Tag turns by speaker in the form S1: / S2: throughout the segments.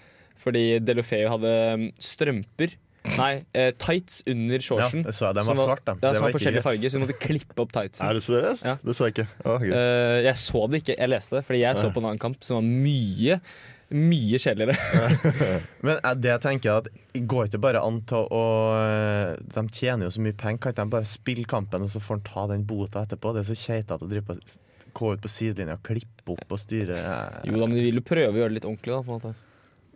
S1: Fordi Delofeo hadde mm, strømper Nei, eh, tights under
S2: Ja,
S1: shortsen.
S2: jeg så jeg, den
S1: som
S2: var svart, da.
S1: Ja,
S2: Det
S1: som
S2: var
S1: var
S2: ikke
S1: forskjellige
S2: greit.
S1: farger, så du måtte klippe opp tightsen.
S3: Er det seriøst?
S1: Ja.
S3: Det så jeg ikke. Å, gud.
S1: Eh, jeg så det ikke, jeg leste det, fordi jeg så
S3: Ja.
S1: på en annen kamp som var mye mye kjedeligere.
S2: Men eh, det jeg tenker er at går ikke bare an til å eh, De tjener jo så mye penger. Kan ikke de bare spille kampen, og så får han ta den bota etterpå? Det er så keitete å drive på s- gå ut på sidelinja og klippe opp og styre eh.
S1: Jo da, men de vil jo prøve å gjøre det litt ordentlig, da. på en måte.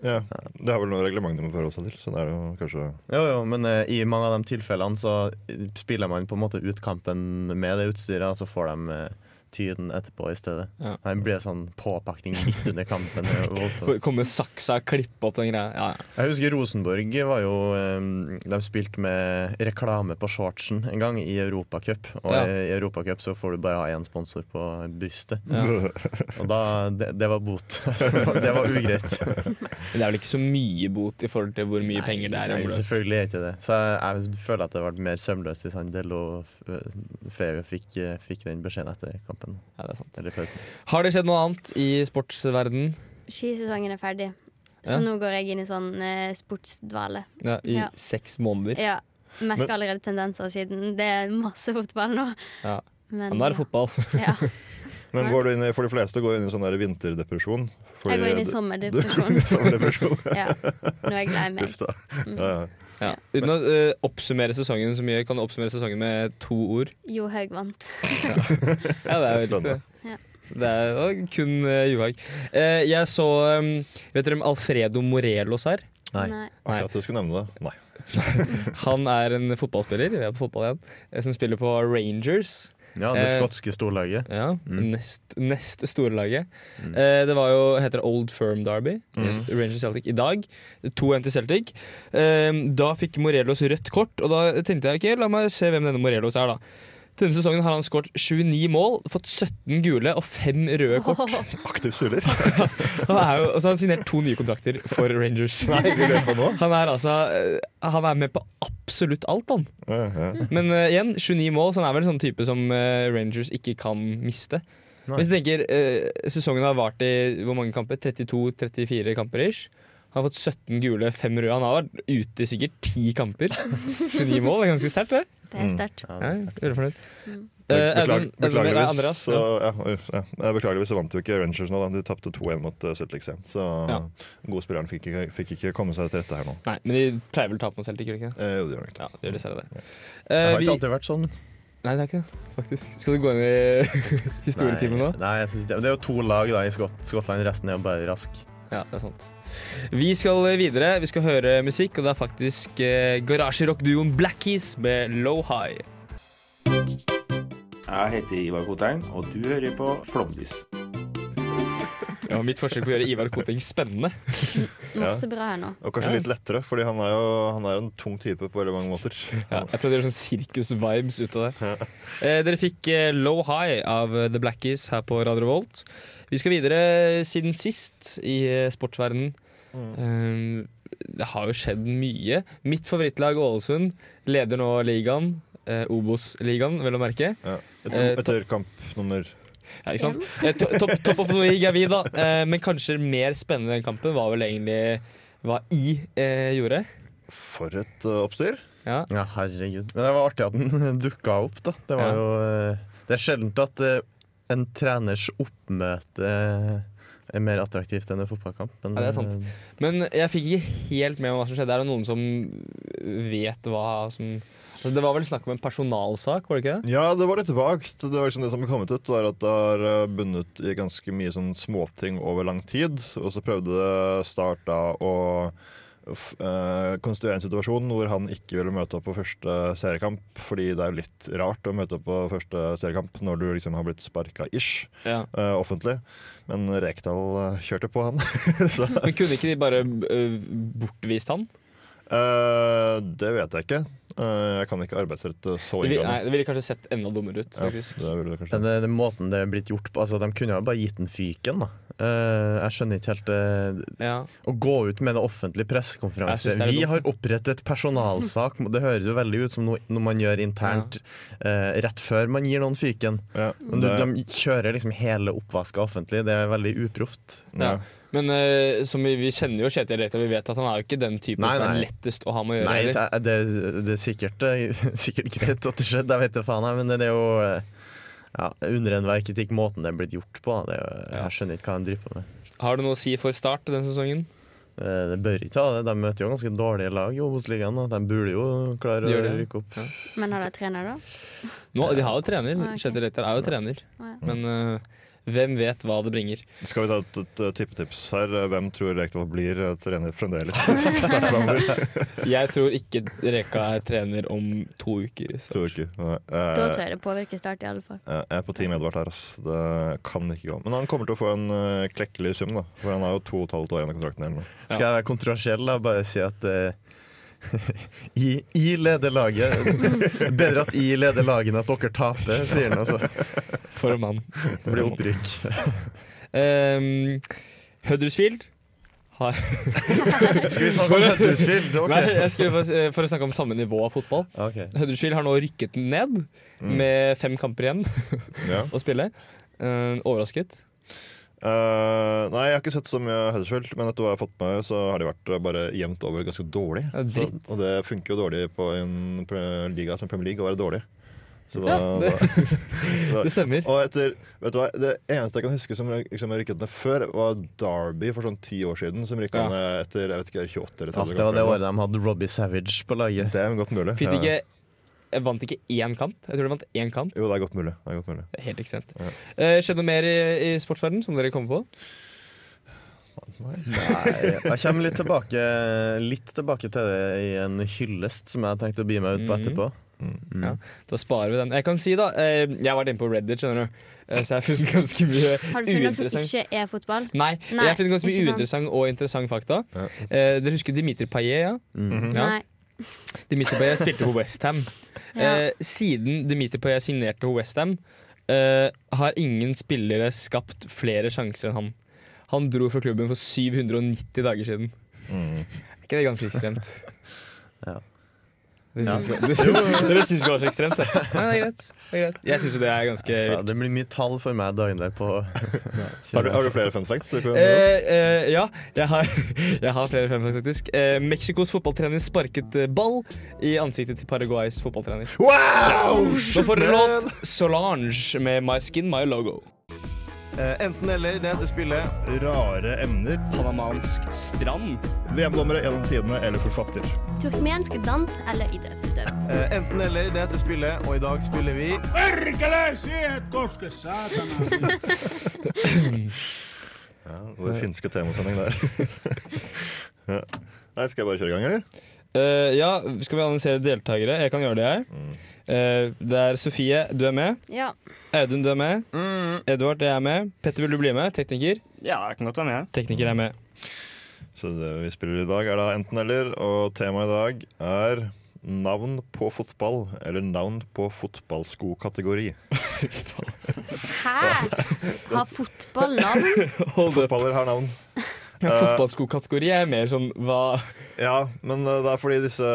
S3: Ja, Det er vel noe reglement de må forholde seg til. Så det er jo kanskje
S2: Jo, jo, men eh, i mange av de tilfellene så spiller man på en måte ut kampen med det utstyret, og så får de eh, tyden etterpå i stedet.
S1: Ja.
S2: Det blir sånn påpakning midt under kampen. det er jo voldsomt.
S1: Komme med saksa og klippe opp den greia. Ja, ja.
S2: Jeg husker Rosenborg var jo eh, De spilte med reklame på shortsen en gang i Europacup. Og
S1: Ja.
S2: i Europacup så får du bare ha én sponsor på brystet.
S1: Ja.
S2: Og da Det, det var bot. det var ugreit.
S1: Men det er vel ikke så mye bot i forhold til hvor mye penger det er. i
S2: Nei,
S1: omløp.
S2: selvfølgelig er ikke det. Så jeg, jeg føler at det hadde vært mer sømløst hvis han Dello Feo fikk, eh, fikk den beskjeden etter kampen.
S1: Ja, det er sant.
S2: Eller pausen.
S1: Har det skjedd noe annet i sportsverden?
S4: Skisesongen er ferdig.
S1: Ja.
S4: Så nå går jeg inn i sånn eh, sportsdvale.
S1: Ja, I
S4: Ja.
S1: seks måneder.
S4: Ja,
S2: Men-
S4: Merker allerede tendenser siden. Det er masse fotball nå.
S1: Ja.
S4: Men,
S1: Men da er det
S4: ja.
S1: fotball.
S4: Ja.
S3: Men går du inn i, for de fleste går inn i sånn der vinterdepresjon. fordi-
S4: Jeg går inn i sommerdepresjon.
S3: Sommerdepresjon.
S4: ja. Nå er jeg lei meg.
S3: Uff da. Ja, ja.
S1: Ja. Uten å eh, oppsummere sesongen så mye, kan du oppsummere sesongen med to ord?
S4: Jo Haug vant.
S1: Ja, det er jo
S3: Spennende.
S1: riktig.
S4: Ja.
S1: Det er det er kun uh, Johaug. Eh, jeg så um, Vet dere om Alfredo Morelos her?
S2: Nei.
S4: Nei.
S3: Akkurat du skulle nevne det. Nei.
S1: Han er en fotballspiller vi er på fotball igjen, eh, som spiller på Rangers.
S2: Ja, det
S1: Eh,
S2: skotske storlaget.
S1: Ja, nest, nest store laget. Eh, det var jo, heter det Old Firm Derby. Rangers Celtic i dag. 2-1 til Celtic. Eh, da fikk Morelos rødt kort, og da tenkte jeg ok, la meg se hvem denne Morelos er, da. Denne sesongen har han skåret 29 mål, fått 17 gule og 5 røde kort.
S3: Aktiv suler.
S1: Han er jo, og så har han signert to nye kontrakter for Rangers. Han er altså eh, Han er med på absolutt alt, han.
S3: Ja, ja.
S1: Men eh, igjen, 29 mål, så han er vel en sånn type som eh, Rangers ikke kan miste.
S2: Nei.
S1: Hvis du tenker, eh, Sesongen har vart i hvor mange kamper? 32-34 kamper ish. Han har fått 17 gule, 5 røde. Han har vært ute i sikkert 10 kamper. 29 mål, det er ganske sterkt, det.
S4: Det
S1: Mm.
S4: er sterkt.
S2: Ja,
S1: Ja,
S2: det er sterkt.
S1: veldig fornøyd. Eh,
S3: Beklag,
S1: Audun- Audun, nei,
S3: beklageligvis,
S1: Andreas,
S3: så, ja, oi, ja. Eh, beklageligvis så vant jo ikke Rangers nå. Da. De tapte 2-1 mot eh, Celtic. igjen. Så
S1: Ja.
S3: den gode spilleren fikk ikke, fikk ikke komme seg til rette her nå.
S1: Nei, men de pleier vel å tape mot Celtic, gjør de ikke det?
S3: Eh, jo, det gjør han ikke.
S1: Ja, de gjør dessverre det.
S2: Det
S1: Eh,
S2: har
S1: vi,
S2: ikke alltid vært sånn.
S1: nei, det er ikke det, faktisk. Skal du gå inn i historietimen nå?
S2: Nei, nei jeg synes ikke det. det er jo to lag da, i Skott Skottland. Resten er jo bare rask.
S1: Ja, det er sant. Vi skal videre. Vi skal høre musikk, og det er faktisk eh, garasjerock-duoen Blackies med Low High.
S5: Jeg heter Ivar Kotein, og du hører på Flomlys.
S1: Ja, mitt forsøk på å gjøre Ivar Koting spennende.
S4: Masse bra her nå.
S3: Og kanskje litt lettere, fordi han er jo han er en tung type på veldig mange måter.
S1: Ja, jeg prøvde å gjøre sånn sirkus-vibes ut av det. Eh, dere fikk eh, Low High av eh, The Blackies her på Radio Revolt. Vi skal videre siden sist i eh, sportsverdenen. Eh, det har jo skjedd mye. Mitt favorittlag Ålesund leder nå ligaen. Eh, Obos-ligaen, vel å merke. Eh,
S3: Etter, etter kampnummer
S1: Ja, ikke sant? Eh, to- Topp top of the league er vi, da. Eh, men kanskje mer spennende enn kampen var vel egentlig hva I eh, gjorde.
S3: For et eh, oppstyr!
S1: Ja.
S2: Ja, herregud. Men det var artig at den dukka opp, da. Det
S1: Ja.
S2: var jo eh, Det er sjelden at eh, en treners oppmøte eh, er mer attraktivt enn en fotballkamp. Men,
S1: Ja, det er sant.
S2: eh,
S1: Men jeg fikk ikke helt med meg hva som skjedde. Er det noen som vet hva som altså, Det var vel snakk om en personalsak, var det ikke det?
S3: Ja, det var litt vagt. Det var liksom det som kom ut, var at det har eh, bundet i ganske mye sånn småting over lang tid. Og så prøvde Start da å f eh, konstruere en situasjon hvor han ikke ville møte opp på første seriekamp, fordi det er jo litt rart å møte opp på første seriekamp når du liksom har blitt sparka ish
S1: Ja.
S3: eh, offentlig. Men Rekdal eh, kjørte på, han. så
S1: Men kunne ikke de bare eh, bortvist han?
S3: eh, det vet jeg ikke. Eh, jeg kan ikke arbeidsrette så
S1: Det, vil, nei,
S3: inngripende.
S1: det ville kanskje sett enda dummere ut.
S3: Ja,
S1: faktisk.
S3: det burde du kanskje.
S2: men det, det, måten det er blitt gjort på altså, De kunne jo bare gitt den fyken, da. Eh, jeg skjønner ikke helt eh,
S1: Ja.
S2: Å gå ut med en offentlig pressekonferanse
S1: Jeg synes det er
S2: Vi
S1: dumt.
S2: har opprettet personalsak. Det høres jo veldig ut som noe, noe man gjør internt eh, rett før man gir noen fyken.
S3: Ja,
S2: Men du,
S3: det-
S2: de kjører liksom hele oppvasket offentlig. Det er veldig uproft.
S1: Ja. Men eh, som vi, vi kjenner jo Kjetil Rekdal, vi vet at han er jo ikke den typen
S2: Nei,
S1: som er
S2: nei.
S1: lettest å ha med å gjøre.
S2: Nei,
S1: heller.
S2: så er eh, det, det er sikkert, sikkert greit at det skjedde, jeg vet da faen, jeg, men det er jo eh, Ja, Under enhver kritikk måten det er blitt gjort på. da. Det er, jo-
S1: Ja.
S2: Jeg skjønner ikke hva de driver på med.
S1: Har du noe å si for Start denne sesongen?
S2: Eh, Det bør ikke ha det. De møter jo ganske dårlige lag i Obos-ligaen. da. De burde jo klare
S1: De
S2: å
S1: gjør det.
S2: rykke opp.
S4: Men har de trener, da?
S1: Nå, De har jo trener.
S4: Ah, ok.
S1: Kjetil Rekdal er jo trener.
S4: Å, ja.
S1: Men eh, hvem vet hva det bringer?
S3: Skal vi ta et, et eh, tippetips her? Hvem tror Rekdal blir eh, trener fremdeles? Start fremover.
S1: Jeg tror ikke Reka er trener om to uker. Så.
S3: Tror ikke. Nei.
S4: Da
S3: Eh,
S4: tror jeg det påvirker Start, i alle fall.
S3: eh, jeg er på Team Edvard her, ass. Det kan ikke gå. Men han kommer til å få en eh, klekkelig sum, da. For han har jo to og et halvt år igjen av kontrakten. Eller noe.
S2: Skal jeg være kontroversiell da, bare si at eh, I, I leder laget. Bedre at I leder laget enn at dere taper, sier han altså.
S1: For en mann.
S2: Det blir opprykk.
S1: Um, Huddersfield har
S2: Skal vi snakke om Huddersfield?
S1: Nei,
S2: Ok.
S1: jeg skulle bare, eh, For å snakke om samme nivå av fotball.
S2: Ok.
S1: Huddersfield har nå rykket ned med fem kamper igjen
S3: Ja.
S1: å spille. Eh, overrasket.
S3: Eh, nei, jeg har ikke sett så mye Huddersfield, men etter hva jeg har fått med meg, så har de vært eh, bare jevnt over ganske dårlig.
S1: Ja,
S3: Så,
S1: dritt.
S3: og det funker jo dårlig på en pre- liga som Premier League å være dårlig. Så da,
S1: Ja, det-
S3: da,
S1: Det stemmer.
S3: og etter, vet du hva, Det eneste jeg kan huske som liksom, rykket ned før, var Derby for sånn ti år siden. Som rykket
S1: Ja.
S3: ned etter jeg vet ikke, 28 eller
S2: Ja,
S3: 30
S2: Ah, det var det
S3: kamper.
S2: året de hadde Robbie Savage på laget.
S3: Det er godt mulig.
S1: Fikk
S3: Ja.
S1: ikke jeg vant ikke én kamp. Jeg tror de vant én kamp.
S3: Jo, det er godt mulig. Det er godt mulig.
S1: Det er Helt ekstremt. Eh, skjedde noe mer i, i sportsverdenen som dere kommer på?
S2: Nei, jeg kommer litt tilbake, litt tilbake til det i en hyllest som jeg har tenkt å bi meg ut på
S1: Mhm.
S2: etterpå.
S1: Da sparer vi den. Jeg kan si, da eh, Jeg har vært inne på Reddit, skjønner du. Eh, så jeg har funnet ganske mye
S4: Har du funnet noe som
S1: uinteressant
S4: ikke er fotball?
S1: Nei,
S4: Nei,
S1: jeg har funnet ganske mye
S4: ikke sant.
S1: uinteressant og interessant fakta. Eh, dere husker Dimitri Payet, ja? Ja.
S4: Nei.
S1: Dimitri Payet spilte på Westham.
S4: Ja.
S1: Eh, siden Dimitri Payet signerte på Westham, eh, har ingen spillere skapt flere sjanser enn han. Han dro fra klubben for 790 dager siden. Er ikke det ganske ekstremt?
S2: Ja.
S1: Dere syns dere syns ikke det var så ekstremt, det. Nei, det er greit. Det er greit. Jeg syns jo det er ganske
S2: Så
S1: vilt.
S2: det blir mye tall for meg dagen der på
S3: Har du, har du flere fun facts? du kan-
S1: Eh, eh, ja, jeg har, jeg har flere fun facts, faktisk. Eh, Mexicos fotballtrener sparket eh, ball i ansiktet til Paraguays fotballtrener.
S2: Wow!
S1: Så får dere låt Solange med My Skin, My Logo.
S2: Eh, enten eller, det heter spillet.
S3: Rare emner.
S1: Panamansk strand.
S3: VM-dommere gjennom tidene eller forfatter.
S4: Turkmensk dans eller idrettsutøv?
S2: Eh, enten eller, det heter spillet, og i dag spiller vi
S3: Ja, Vår finske temasending der. ja. Nei, Skal jeg bare kjøre i gang, eller?
S1: Eh, ja, skal vi analysere deltakere? Jeg kan gjøre det, jeg. Eh, det er Sofie, du er med.
S4: Ja.
S1: Audun, du er med. Edvard, jeg er med. Petter, vil du bli med? Tekniker?
S6: Mm. Ja, jeg kan godt være med.
S1: Tekniker er med.
S3: Så det vi spiller i dag, er da enten-eller, og temaet i dag er navn på fotball, eller navn på fotballskokategori.
S4: Hæ? Har fotball navn?
S3: Fotballer har navn.
S1: Ja, Fotballskokategori er mer sånn hva
S3: Ja, men eh, det er fordi disse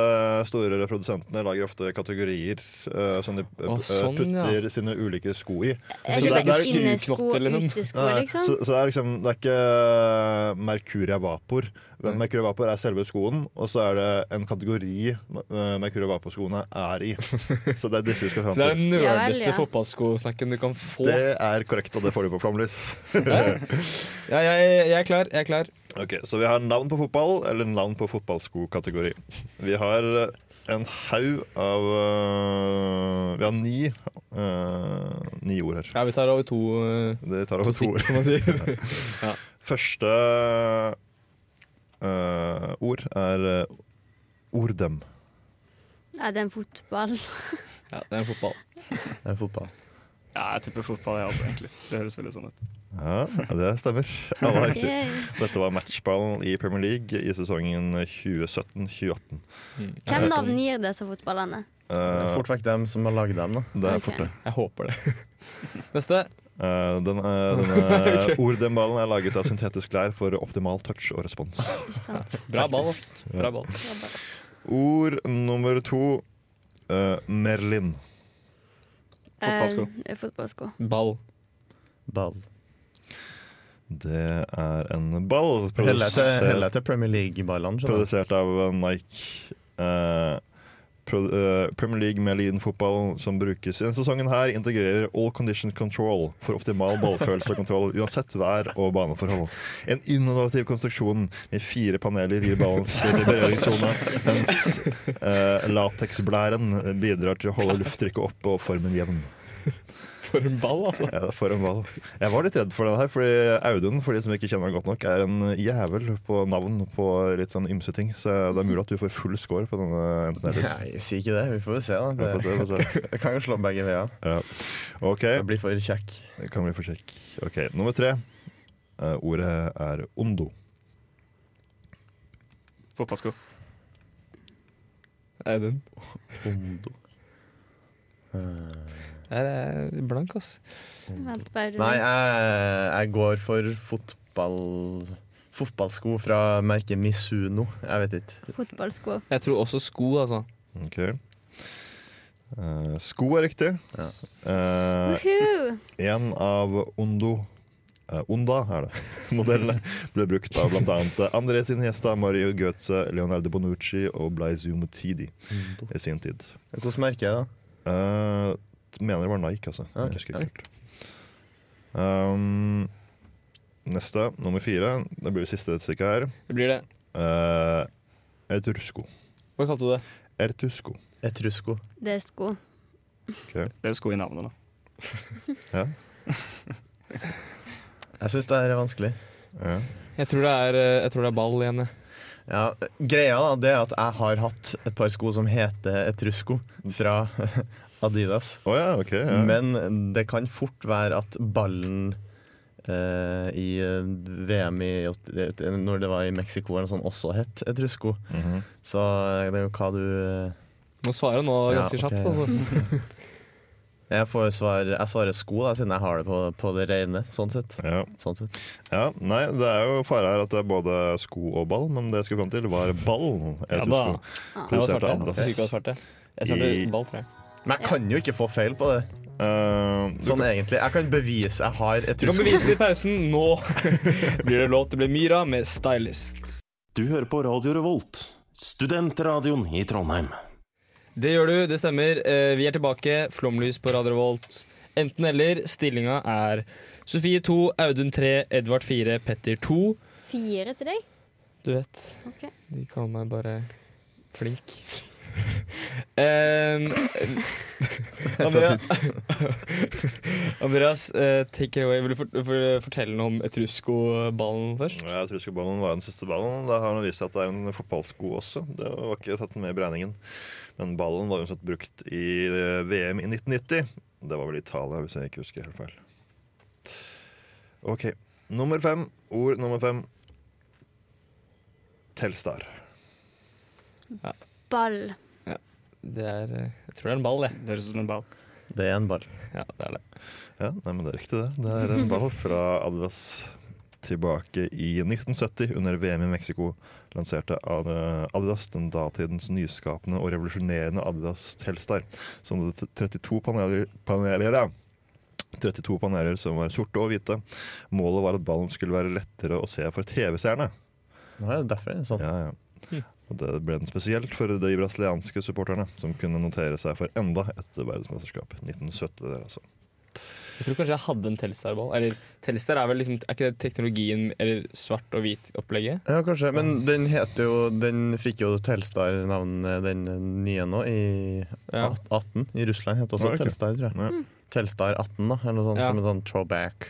S3: store produsentene lager ofte kategorier eh, som de eh,
S1: Å, sånn,
S3: putter sine ulike sko i.
S4: Er
S1: det
S4: det
S1: er
S4: bare
S1: ikke
S4: innesko,
S1: knott, liksom.
S4: utesko,
S3: Nei,
S4: liksom?
S3: Så, så det er liksom Det er ikke eh, Mercuria Vapor. Mercuria Vapor er selve skoen, og så er det en kategori eh, Mercuria Vapor-skoene er i. Så det er disse vi skal fram
S1: Det er
S3: til.
S1: den
S4: Ja vel,
S1: nerdeste
S4: ja.
S1: fotballskosnakken du kan få.
S3: Det er korrekt, og det får du på Flomlys.
S1: Ja, jeg, jeg er klar. Jeg er klar.
S3: Ok, Så vi har navn på fotball, eller navn på fotballskokategori. Vi har eh, en haug av øh, Vi har ni, øh, ni ord her.
S1: Ja, vi tar over to, eh,
S3: Det tar over to
S1: stikk,
S3: ord.
S1: som man sier.
S3: Første øh, ord er øh, ordem.
S4: Er det en fotball?
S1: Ja, det er fotball.
S2: Det er fotball.
S6: Ja, jeg tipper fotball, jeg også, egentlig. Det høres veldig sånn ut.
S3: Ja, det stemmer. Alle har riktig.
S4: Yay.
S3: Dette var matchballen i Premier League i sesongen 2017-2018.
S4: Hvem navn gir disse fotballene?
S3: Eh,
S2: Fort vekk dem som har lagd dem, da.
S3: det er
S4: Ok.
S3: fort, det.
S1: Jeg håper det. Neste.
S3: Eh, den, eh, denne ordem-ballen er laget av syntetisk lær for optimal touch og respons.
S4: Ikke sant?
S1: Bra ball, ass. Bra ball.
S3: Ord nummer to eh, Merlin.
S6: Fotballsko.
S4: Eh, fotballsko.
S1: Ball.
S2: Ball.
S3: Det er en ball
S2: Heller til,
S3: produsert,
S2: heller til Premier League-ballene. skjønner du.
S3: produsert av Nike. Eh, pro, eh, Premier League med Lean-fotball som brukes. I denne sesongen her integrerer all condition control for optimal ballfølelse og kontroll, uansett vær og baneforhold. En innovativ konstruksjon med fire paneler gir ballen større berøringssone, mens eh, lateksblæren bidrar til å holde lufttrykket oppe og formen jevn.
S1: For en ball, altså.
S3: Ja, for en ball. Jeg var litt redd for den her, fordi Audun for de som ikke kjenner han godt nok, er en jævel på navn på litt sånn ymse ting. Så det er mulig at du får full score på denne enten eller.
S2: Nei, si ikke det. Vi får jo se, da.
S3: Vi får se, vi får
S2: Det, jeg kan jo slå begge veier.
S3: altså. Ja. OK,
S2: Jeg blir for kjekk.
S3: det kan bli for kjekk. Ok, Nummer tre. Eh, ordet er ondo.
S6: Fotballsko.
S1: Audun.
S2: Ondo.
S1: Her er jeg blank, ass.
S4: Vent bare du
S2: Nei, jeg, jeg går for fotball... Fotballsko fra merket Misuno. Jeg vet ikke.
S4: Fotballsko.
S1: Jeg tror også sko, altså.
S3: Ok Eh, Sko er riktig.
S2: Ja.
S3: Eh,
S4: Woohoo!
S3: En av Ondo eh, Onda er det. Modellene ble brukt av bl.a. André Iniesta, Mario Goethe, Leonardo Bonucci og Blaise Mutidi i sin tid.
S2: Hvilket merke er det? da?
S3: Eh, mener det var Nike, altså.
S2: Ja, ok.
S3: Jeg husker ikke helt. Um, neste, nummer fire. Det blir det siste stykket her.
S1: Det blir det.
S3: Uh, Ertusko.
S1: Hva kalte du det?
S3: Ertusko.
S2: Etrusko.
S4: Det er sko.
S6: Det er sko i navnet, da.
S3: Ja.
S2: Jeg syns det her er vanskelig.
S3: ja.
S1: Jeg tror det er, eh, jeg tror det er ball igjen. jeg.
S2: Ja, greia da, det er at jeg har hatt et par sko som heter Etrusko fra Adidas.
S3: Å ja, OK. Ja.
S2: Men det kan fort være at ballen eh, i VM i, åt- eh, når det var i Mexico eller sånn, også het Etrusko.
S3: Mhm.
S2: Så eh, det er jo hva du eh,
S1: Må svare nå
S2: Ja,
S1: ganske kjapt,
S2: ok, ja.
S1: altså.
S2: Jeg, får svar, jeg svarer sko, da, siden jeg har det på, på det rene. Sånn sett.
S3: ja.
S2: Sånn sett.
S3: Ja, nei, det er jo fare her at det er både sko og ball, men det jeg skulle fram til, var ball.
S1: Ja da.
S3: Jeg tror sko.
S1: Jeg var
S3: Produsert
S1: svarte. Jeg
S3: av Adidas.
S1: synes ikke jeg svarte. Jeg svarte
S3: I-
S1: ball, tror jeg.
S2: Men jeg kan jo ikke få feil på det.
S3: Eh, du
S2: Sånn
S3: kan-
S2: egentlig. Jeg kan bevise jeg har
S1: Du kan
S2: Etrusko.
S1: bevise det i pausen. Nå blir det lov til å bli Myra med Stylist.
S7: Du hører på Radio Revolt, studentradioen i Trondheim.
S1: Det gjør du, det stemmer. Eh, Vi er tilbake. Flomlys på Radio Revolt. Enten eller. Stillinga er Sofie 2, Audun 3, Edvard 4, Petter 2.
S4: Fire til deg?
S1: Du vet,
S4: Ok.
S1: de kaller meg bare flink. Em, Andrea, Andreas, eh, take it away. Vil du for, for, fortelle noe om Etrusco-ballen først?
S3: Ja, Jeg tror skoballen var den siste ballen. Det har nå vist seg at det er en fotballsko også. Det var ikke tatt med i beregningen. Men ballen var uansett brukt i eh, VM i 1990. Det var vel Italia, hvis jeg ikke husker helt feil. OK. Nummer fem. Ord nummer fem. Telstar.
S4: Ball.
S1: Det er, eh, jeg tror det er en ball, jeg.
S6: Det høres ut som en ball.
S2: Det er en ball.
S1: Ja, det er det.
S3: Ja, nei, men det er riktig det. Det er en ball fra Adidas tilbake i 1970 under VM i Mexico. Lanserte Ad- Adidas den datidens nyskapende og revolusjonerende Adidas Telstar. Som hadde 32 paneler, paneler ja. 32 paneler som var sorte og hvite. Målet var at ballen skulle være lettere å se for TV-seerne.
S2: Nå er det derfor det er sånn.
S3: Ja, ja. Og det ble den spesielt for de brasilianske supporterne, som kunne notere seg for enda et verdensmesterskap. 1970 der, altså.
S1: Jeg tror kanskje jeg hadde en Telstar-ball. Eller Telstar er vel liksom Er ikke det teknologien eller svart og hvit opplegget?
S2: Ja, kanskje. Men den heter jo Den fikk jo Telstar-navn, eh, den nye nå, i
S1: Ja.
S2: 18. I Russland heter det også
S3: Ja, ok.
S2: Telstar, tror jeg.
S3: Ja.
S4: Mm.
S2: Telstar 18, da, eller noe sånt,
S1: Ja.
S2: som en sånn throwback.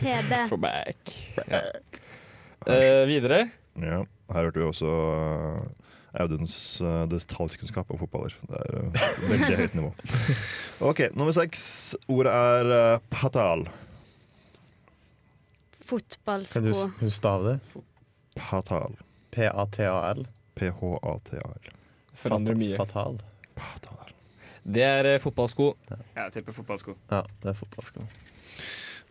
S4: TB.
S1: Throwback. Ja. Eh, videre.
S3: Ja, her hørte vi også eh, Auduns eh, detaljkunnskap om fotballer. Det er eh, veldig høyt nivå. Ok, Nummer seks. Ordet er eh, patal.
S2: Kan du
S4: Fotballsko.
S2: s- kan du stave det?
S3: Patal.
S2: P-a-t-a-l.
S3: P-h-a-t-a-l.
S1: Forandrer mye.
S2: Fatal.
S3: Patal.
S1: Det er eh, fotballsko.
S6: Jeg tipper fotballsko.
S2: Ja, det er fotballsko.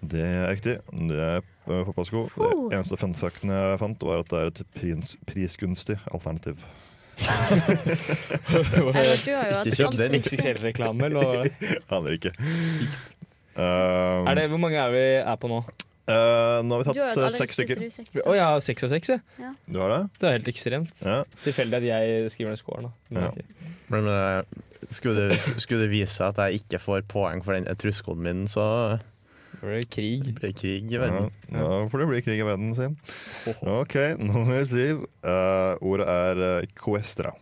S3: Det er riktig. Det er eh, fotballsko.
S4: Puh.
S3: Det eneste funfacten jeg fant, var at det er et prins, prisgunstig alternativ.
S4: Eller du har jo
S2: Ikke
S4: hatt
S2: kjøpt
S4: alt
S2: den.
S4: mulig.
S1: XXL-reklame, eller hva var det?
S3: Aner ikke. Eh,
S1: Er det? Hvor mange er vi er på nå?
S3: nå har vi
S4: Du har
S3: tatt
S4: jo hatt
S3: eh,
S4: alle
S3: seks stykker.
S4: riktige, så du
S1: Å
S4: er
S1: jeg har seks og seks, jeg.
S3: Du har det?
S1: Det er helt ekstremt.
S3: Ja.
S1: Tilfeldig at jeg skriver ned scoren, da. Men
S3: Ja.
S1: ok.
S2: Men eh, skulle det, skulle det vise seg at jeg ikke får poeng for den truskoden min, så
S1: blir det krig.
S2: Blir krig i verden.
S3: Ja, ja, for det blir krig i verden, si. OK, nummer syv. Eh, ordet er eh, coestra.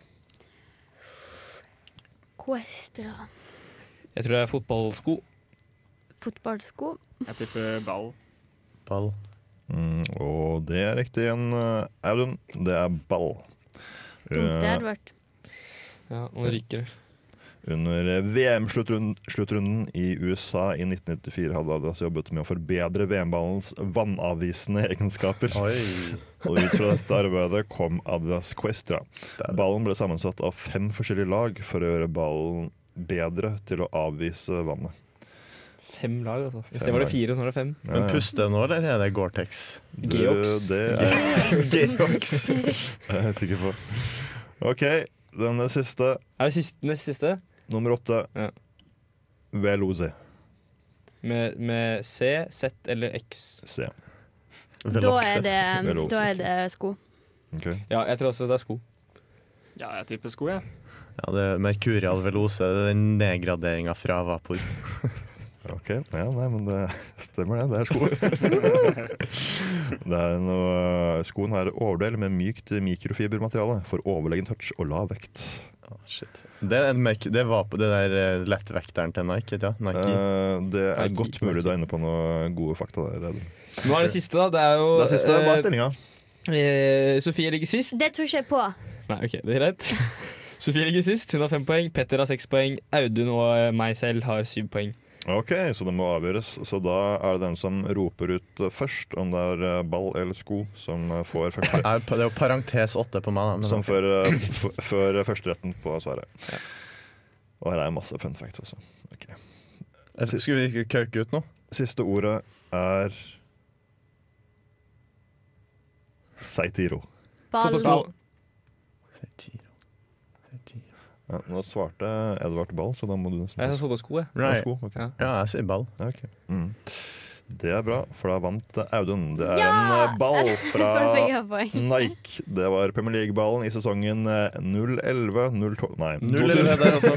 S4: Questra.
S1: Jeg tror det er fotballsko.
S4: Fotballsko.
S6: Jeg tipper ball.
S2: Ball.
S3: Mm, og det er riktig igjen, eh, Audun. Det er ball. Eh,
S4: Dumt det hadde vært.
S1: Ja, nå ryker det.
S3: Under VM-sluttrunden i USA i 1994 hadde Adidas jobbet med å forbedre VM-ballens vannavvisende egenskaper. Og ut fra dette arbeidet kom Adidas Questra. Ballen ble sammensatt av fem forskjellige lag for å gjøre ballen bedre til å avvise vannet.
S1: Fem lag, altså. I
S3: Fem
S1: sted var det
S3: lag.
S1: fire, og nå er det fem.
S3: Ja,
S2: Men
S3: ja.
S2: puster nå, eller er det Gore-Tex?
S3: Du,
S1: Geox.
S3: Det er
S1: Geox.
S3: Det er jeg sikker på. OK, den siste.
S1: Er det siste, nest siste?
S3: Nummer åtte.
S1: Ja.
S3: Veloze.
S1: Med, med C, Z eller X?
S3: C.
S4: Da er det,
S3: Veloxe.
S4: da er det sko.
S3: Ok.
S1: Ja, jeg tror også det er sko.
S6: Ja, jeg tipper sko, jeg.
S2: Ja, det er Mercurial velose. Det er den nedgraderinga fra Vapor.
S3: Ok, ja, nei, men det stemmer det. Det er sko. det er noe, skoen har overdel med mykt mikrofibermateriale for overlegen touch og lav vekt.
S2: Shit. Det er, en merk- det er Vapor, det der eh, lettvekteren til Nike, ikke sant? Nike.
S3: Eh, det er
S1: Nike,
S3: godt mulig du er inne på noen gode fakta der. Edvin.
S1: Nå er det siste, da. Det er jo
S3: Det er siste. Hva
S1: eh,
S3: er stillinga?
S1: eh, Sofie ligger sist.
S4: Det tror ikke jeg på.
S1: Nei, ok, det er greit. Sofie ligger sist. Hun har fem poeng. Petter har seks poeng. Audun og eh, meg selv har syv poeng.
S3: Ok, så det må avgjøres. Så da er det den som roper ut først om det er eh, ball eller sko, som eh, får første,
S2: Nei, Det er jo parentes åtte på meg, da. men-
S3: som får, eh, f- får førsteretten på svaret. Og her er masse fun facts også. Ok.
S2: Jeg sy- Skulle vi ikke kauke ut nå?
S3: Siste ordet er Seitiro.
S4: Ball.
S1: Fotballsko.
S3: Ja, nå svarte Edvard Ball, så da må du nesten
S1: Jeg sa fotballsko, jeg.
S3: ta
S2: Right.
S3: sko. ok.
S1: Ja.
S2: Ja, jeg sier ball.
S3: Ja, ok. Mm. Det er bra, for da vant Audun. Det er
S4: Ja!
S3: en eh, ball fra
S4: For å få poeng.
S3: Nike. Det var Premier League-ballen i sesongen eh, 011 012 Nei,
S2: 011 der, altså.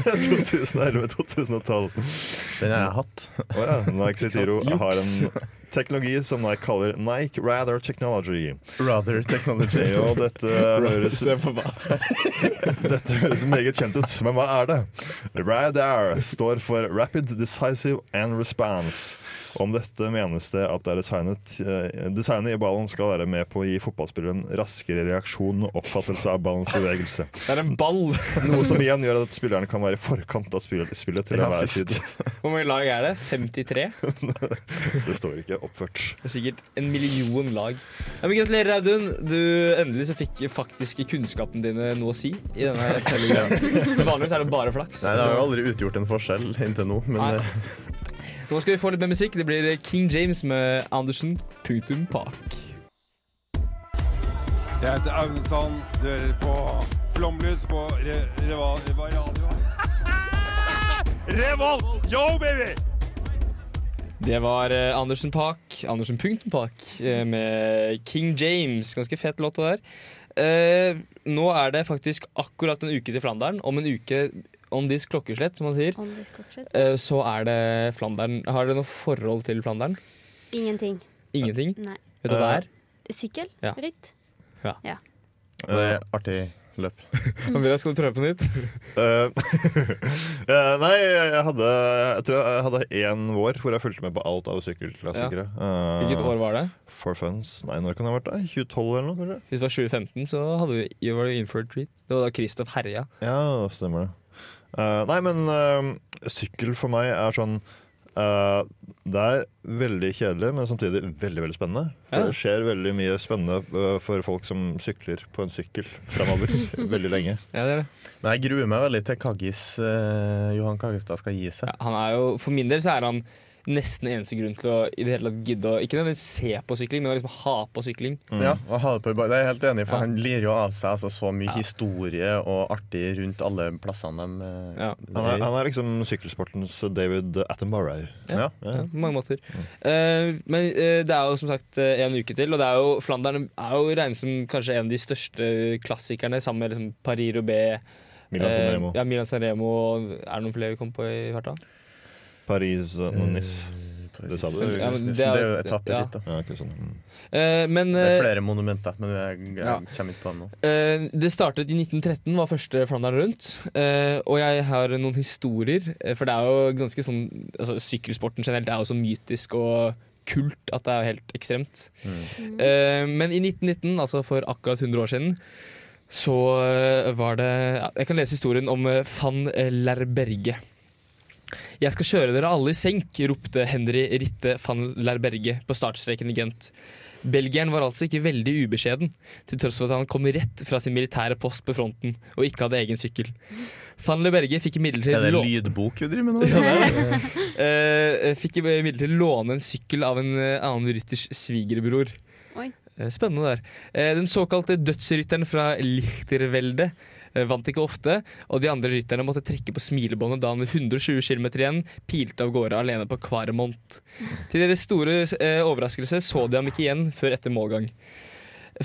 S3: 2011-2012.
S2: Den har jeg hatt.
S3: Å ja. Nike Seitiro
S2: Juks.
S3: har en teknologi som Nike kaller Nike Rather Technology.
S2: Rather technology.
S3: Og dette høres Dette høres meget kjent ut, men hva er det? RADAR står for Rapid Decisive and Response. Om dette menes det at det er designet eh, Designet i ballen skal være med på å gi fotballspilleren raskere reaksjon og oppfattelse av ballens bevegelse.
S1: Det er en ball!
S3: Noe som igjen gjør at spillerne kan være i forkant av spillet, spillet til
S2: Ja,
S3: enhver
S2: visst.
S3: tid.
S1: Hvor mange lag er det? 53?
S3: Det står ikke oppført.
S1: Det er sikkert en million lag. Ja, men gratulerer, Audun. Du, endelig så fikk faktisk kunnskapen dine noe å si. i denne tellingen. Vanligvis er det bare flaks.
S2: Nei, det har jo aldri utgjort en forskjell inntil nå, men
S1: Nei.
S2: eh,
S1: Nå skal vi få litt mer musikk. Det blir King James med Andersen. Punktum Park.
S8: Jeg heter Aunesand. Du hører på Flomlys på re Reva- Reva radio. Revolt! Yo, baby!
S1: Det var eh, Andersen Park, Andersen Punktum Park, eh, med King James. Ganske fet låt, det der. Eh, nå er det faktisk akkurat en uke til Flandern. Om en uke om disk klokkeslett, som man sier,
S4: On this cockpit.
S1: eh, så er det Flandern. Har dere noe forhold til Flandern?
S4: Ingenting.
S1: Ingenting?
S4: Nei.
S1: Vet du
S2: Eh,
S1: hva det er?
S4: Sykkel?
S1: Ja.
S4: Ritt?
S2: det er artig løp.
S1: Andreas, skal du prøve på nytt?
S3: Eh, eh, nei, jeg hadde Jeg tror jeg hadde én vår hvor jeg fulgte med på alt av sykkelklassikere. Eh,
S1: Hvilket år var det?
S3: For funs. Nei, når kan det ha vært? det? 2012 eller noe, kanskje?
S1: Hvis det var 2015, så hadde vi, var det jo innført treat. Det var da Kristoff herja.
S3: Ja, stemmer det. Eh, nei, men eh, sykkel for meg er sånn eh, Det er veldig kjedelig, men samtidig veldig veldig spennende. For
S1: Ja.
S3: Det skjer veldig mye spennende eh, for folk som sykler på en sykkel framover veldig lenge.
S1: Ja, det er det.
S2: Men jeg gruer meg veldig til Kaggis eh, Johan Kaggestad skal gi seg.
S1: Ja, han er jo, for min del så er han nesten eneste grunn til å i det hele tatt gidde å Ikke nødvendigvis se på sykling, men å liksom ha på sykling.
S3: Mm.
S2: Ja, og ha det på i bar- Det er jeg helt enig i, for
S1: Ja.
S2: han lir jo av seg altså, så mye
S1: Ja.
S2: historie og artig rundt alle plassene de eh,
S1: Ja.
S3: Han er, han er liksom sykkelsportens David Attenborough.
S1: Ja,
S2: Ja.
S1: på mange måter. Eh, men eh, det er jo som sagt eh, en uke til, og det er jo, Flandern er jo regnet som kanskje en av de største klassikerne sammen med liksom Paris Roubais.
S3: Milan
S1: Eh,
S3: Sanremo.
S1: Ja, Milan Sanremo. Er det noen flere vi kom på i farta?
S3: Paris og Nice. Det sa du?
S1: Ja, men det er- Det er jo etappe ja. dit, da.
S3: Ja, ok, sånn. mm.
S1: Eh, men
S2: Det er
S1: eh,
S2: flere monumenter, men jeg, jeg
S1: Ja.
S2: kommer ikke på dem nå.
S1: Eh, det startet i 1913, var første Flandern rundt. Eh, og jeg har noen historier, eh, for det er jo ganske sånn altså, Sykkelsporten generelt er jo så mytisk og kult at det er jo helt ekstremt.
S9: Mm.
S1: Eh, men i 1919, altså for akkurat 100 år siden, så eh, var det ja, Jeg kan lese historien om eh, van Lerberge. Jeg skal kjøre dere alle i senk, ropte Henry Ritte van Lerberge på startstreken i Gent. Belgieren var altså ikke veldig ubeskjeden, til tross for at han kom rett fra sin militære post på fronten og ikke hadde egen sykkel. Van Lerberge fikk imidlertid
S2: Er det
S1: lov-
S2: lydbok vi driver med nå?
S1: Ja, det er det. Eh, fikk imidlertid låne en sykkel av en eh, annen rytters svigerbror.
S4: Oi.
S1: Eh, Spennende der. Eh, Den såkalte dødsrytteren fra Lichterveldet eh, vant ikke ofte, og de andre rytterne måtte trekke på smilebåndet da han med 120 km igjen pilte av gårde alene på Kvaremont. Til deres store eh, overraskelse så de ham ikke igjen før etter målgang.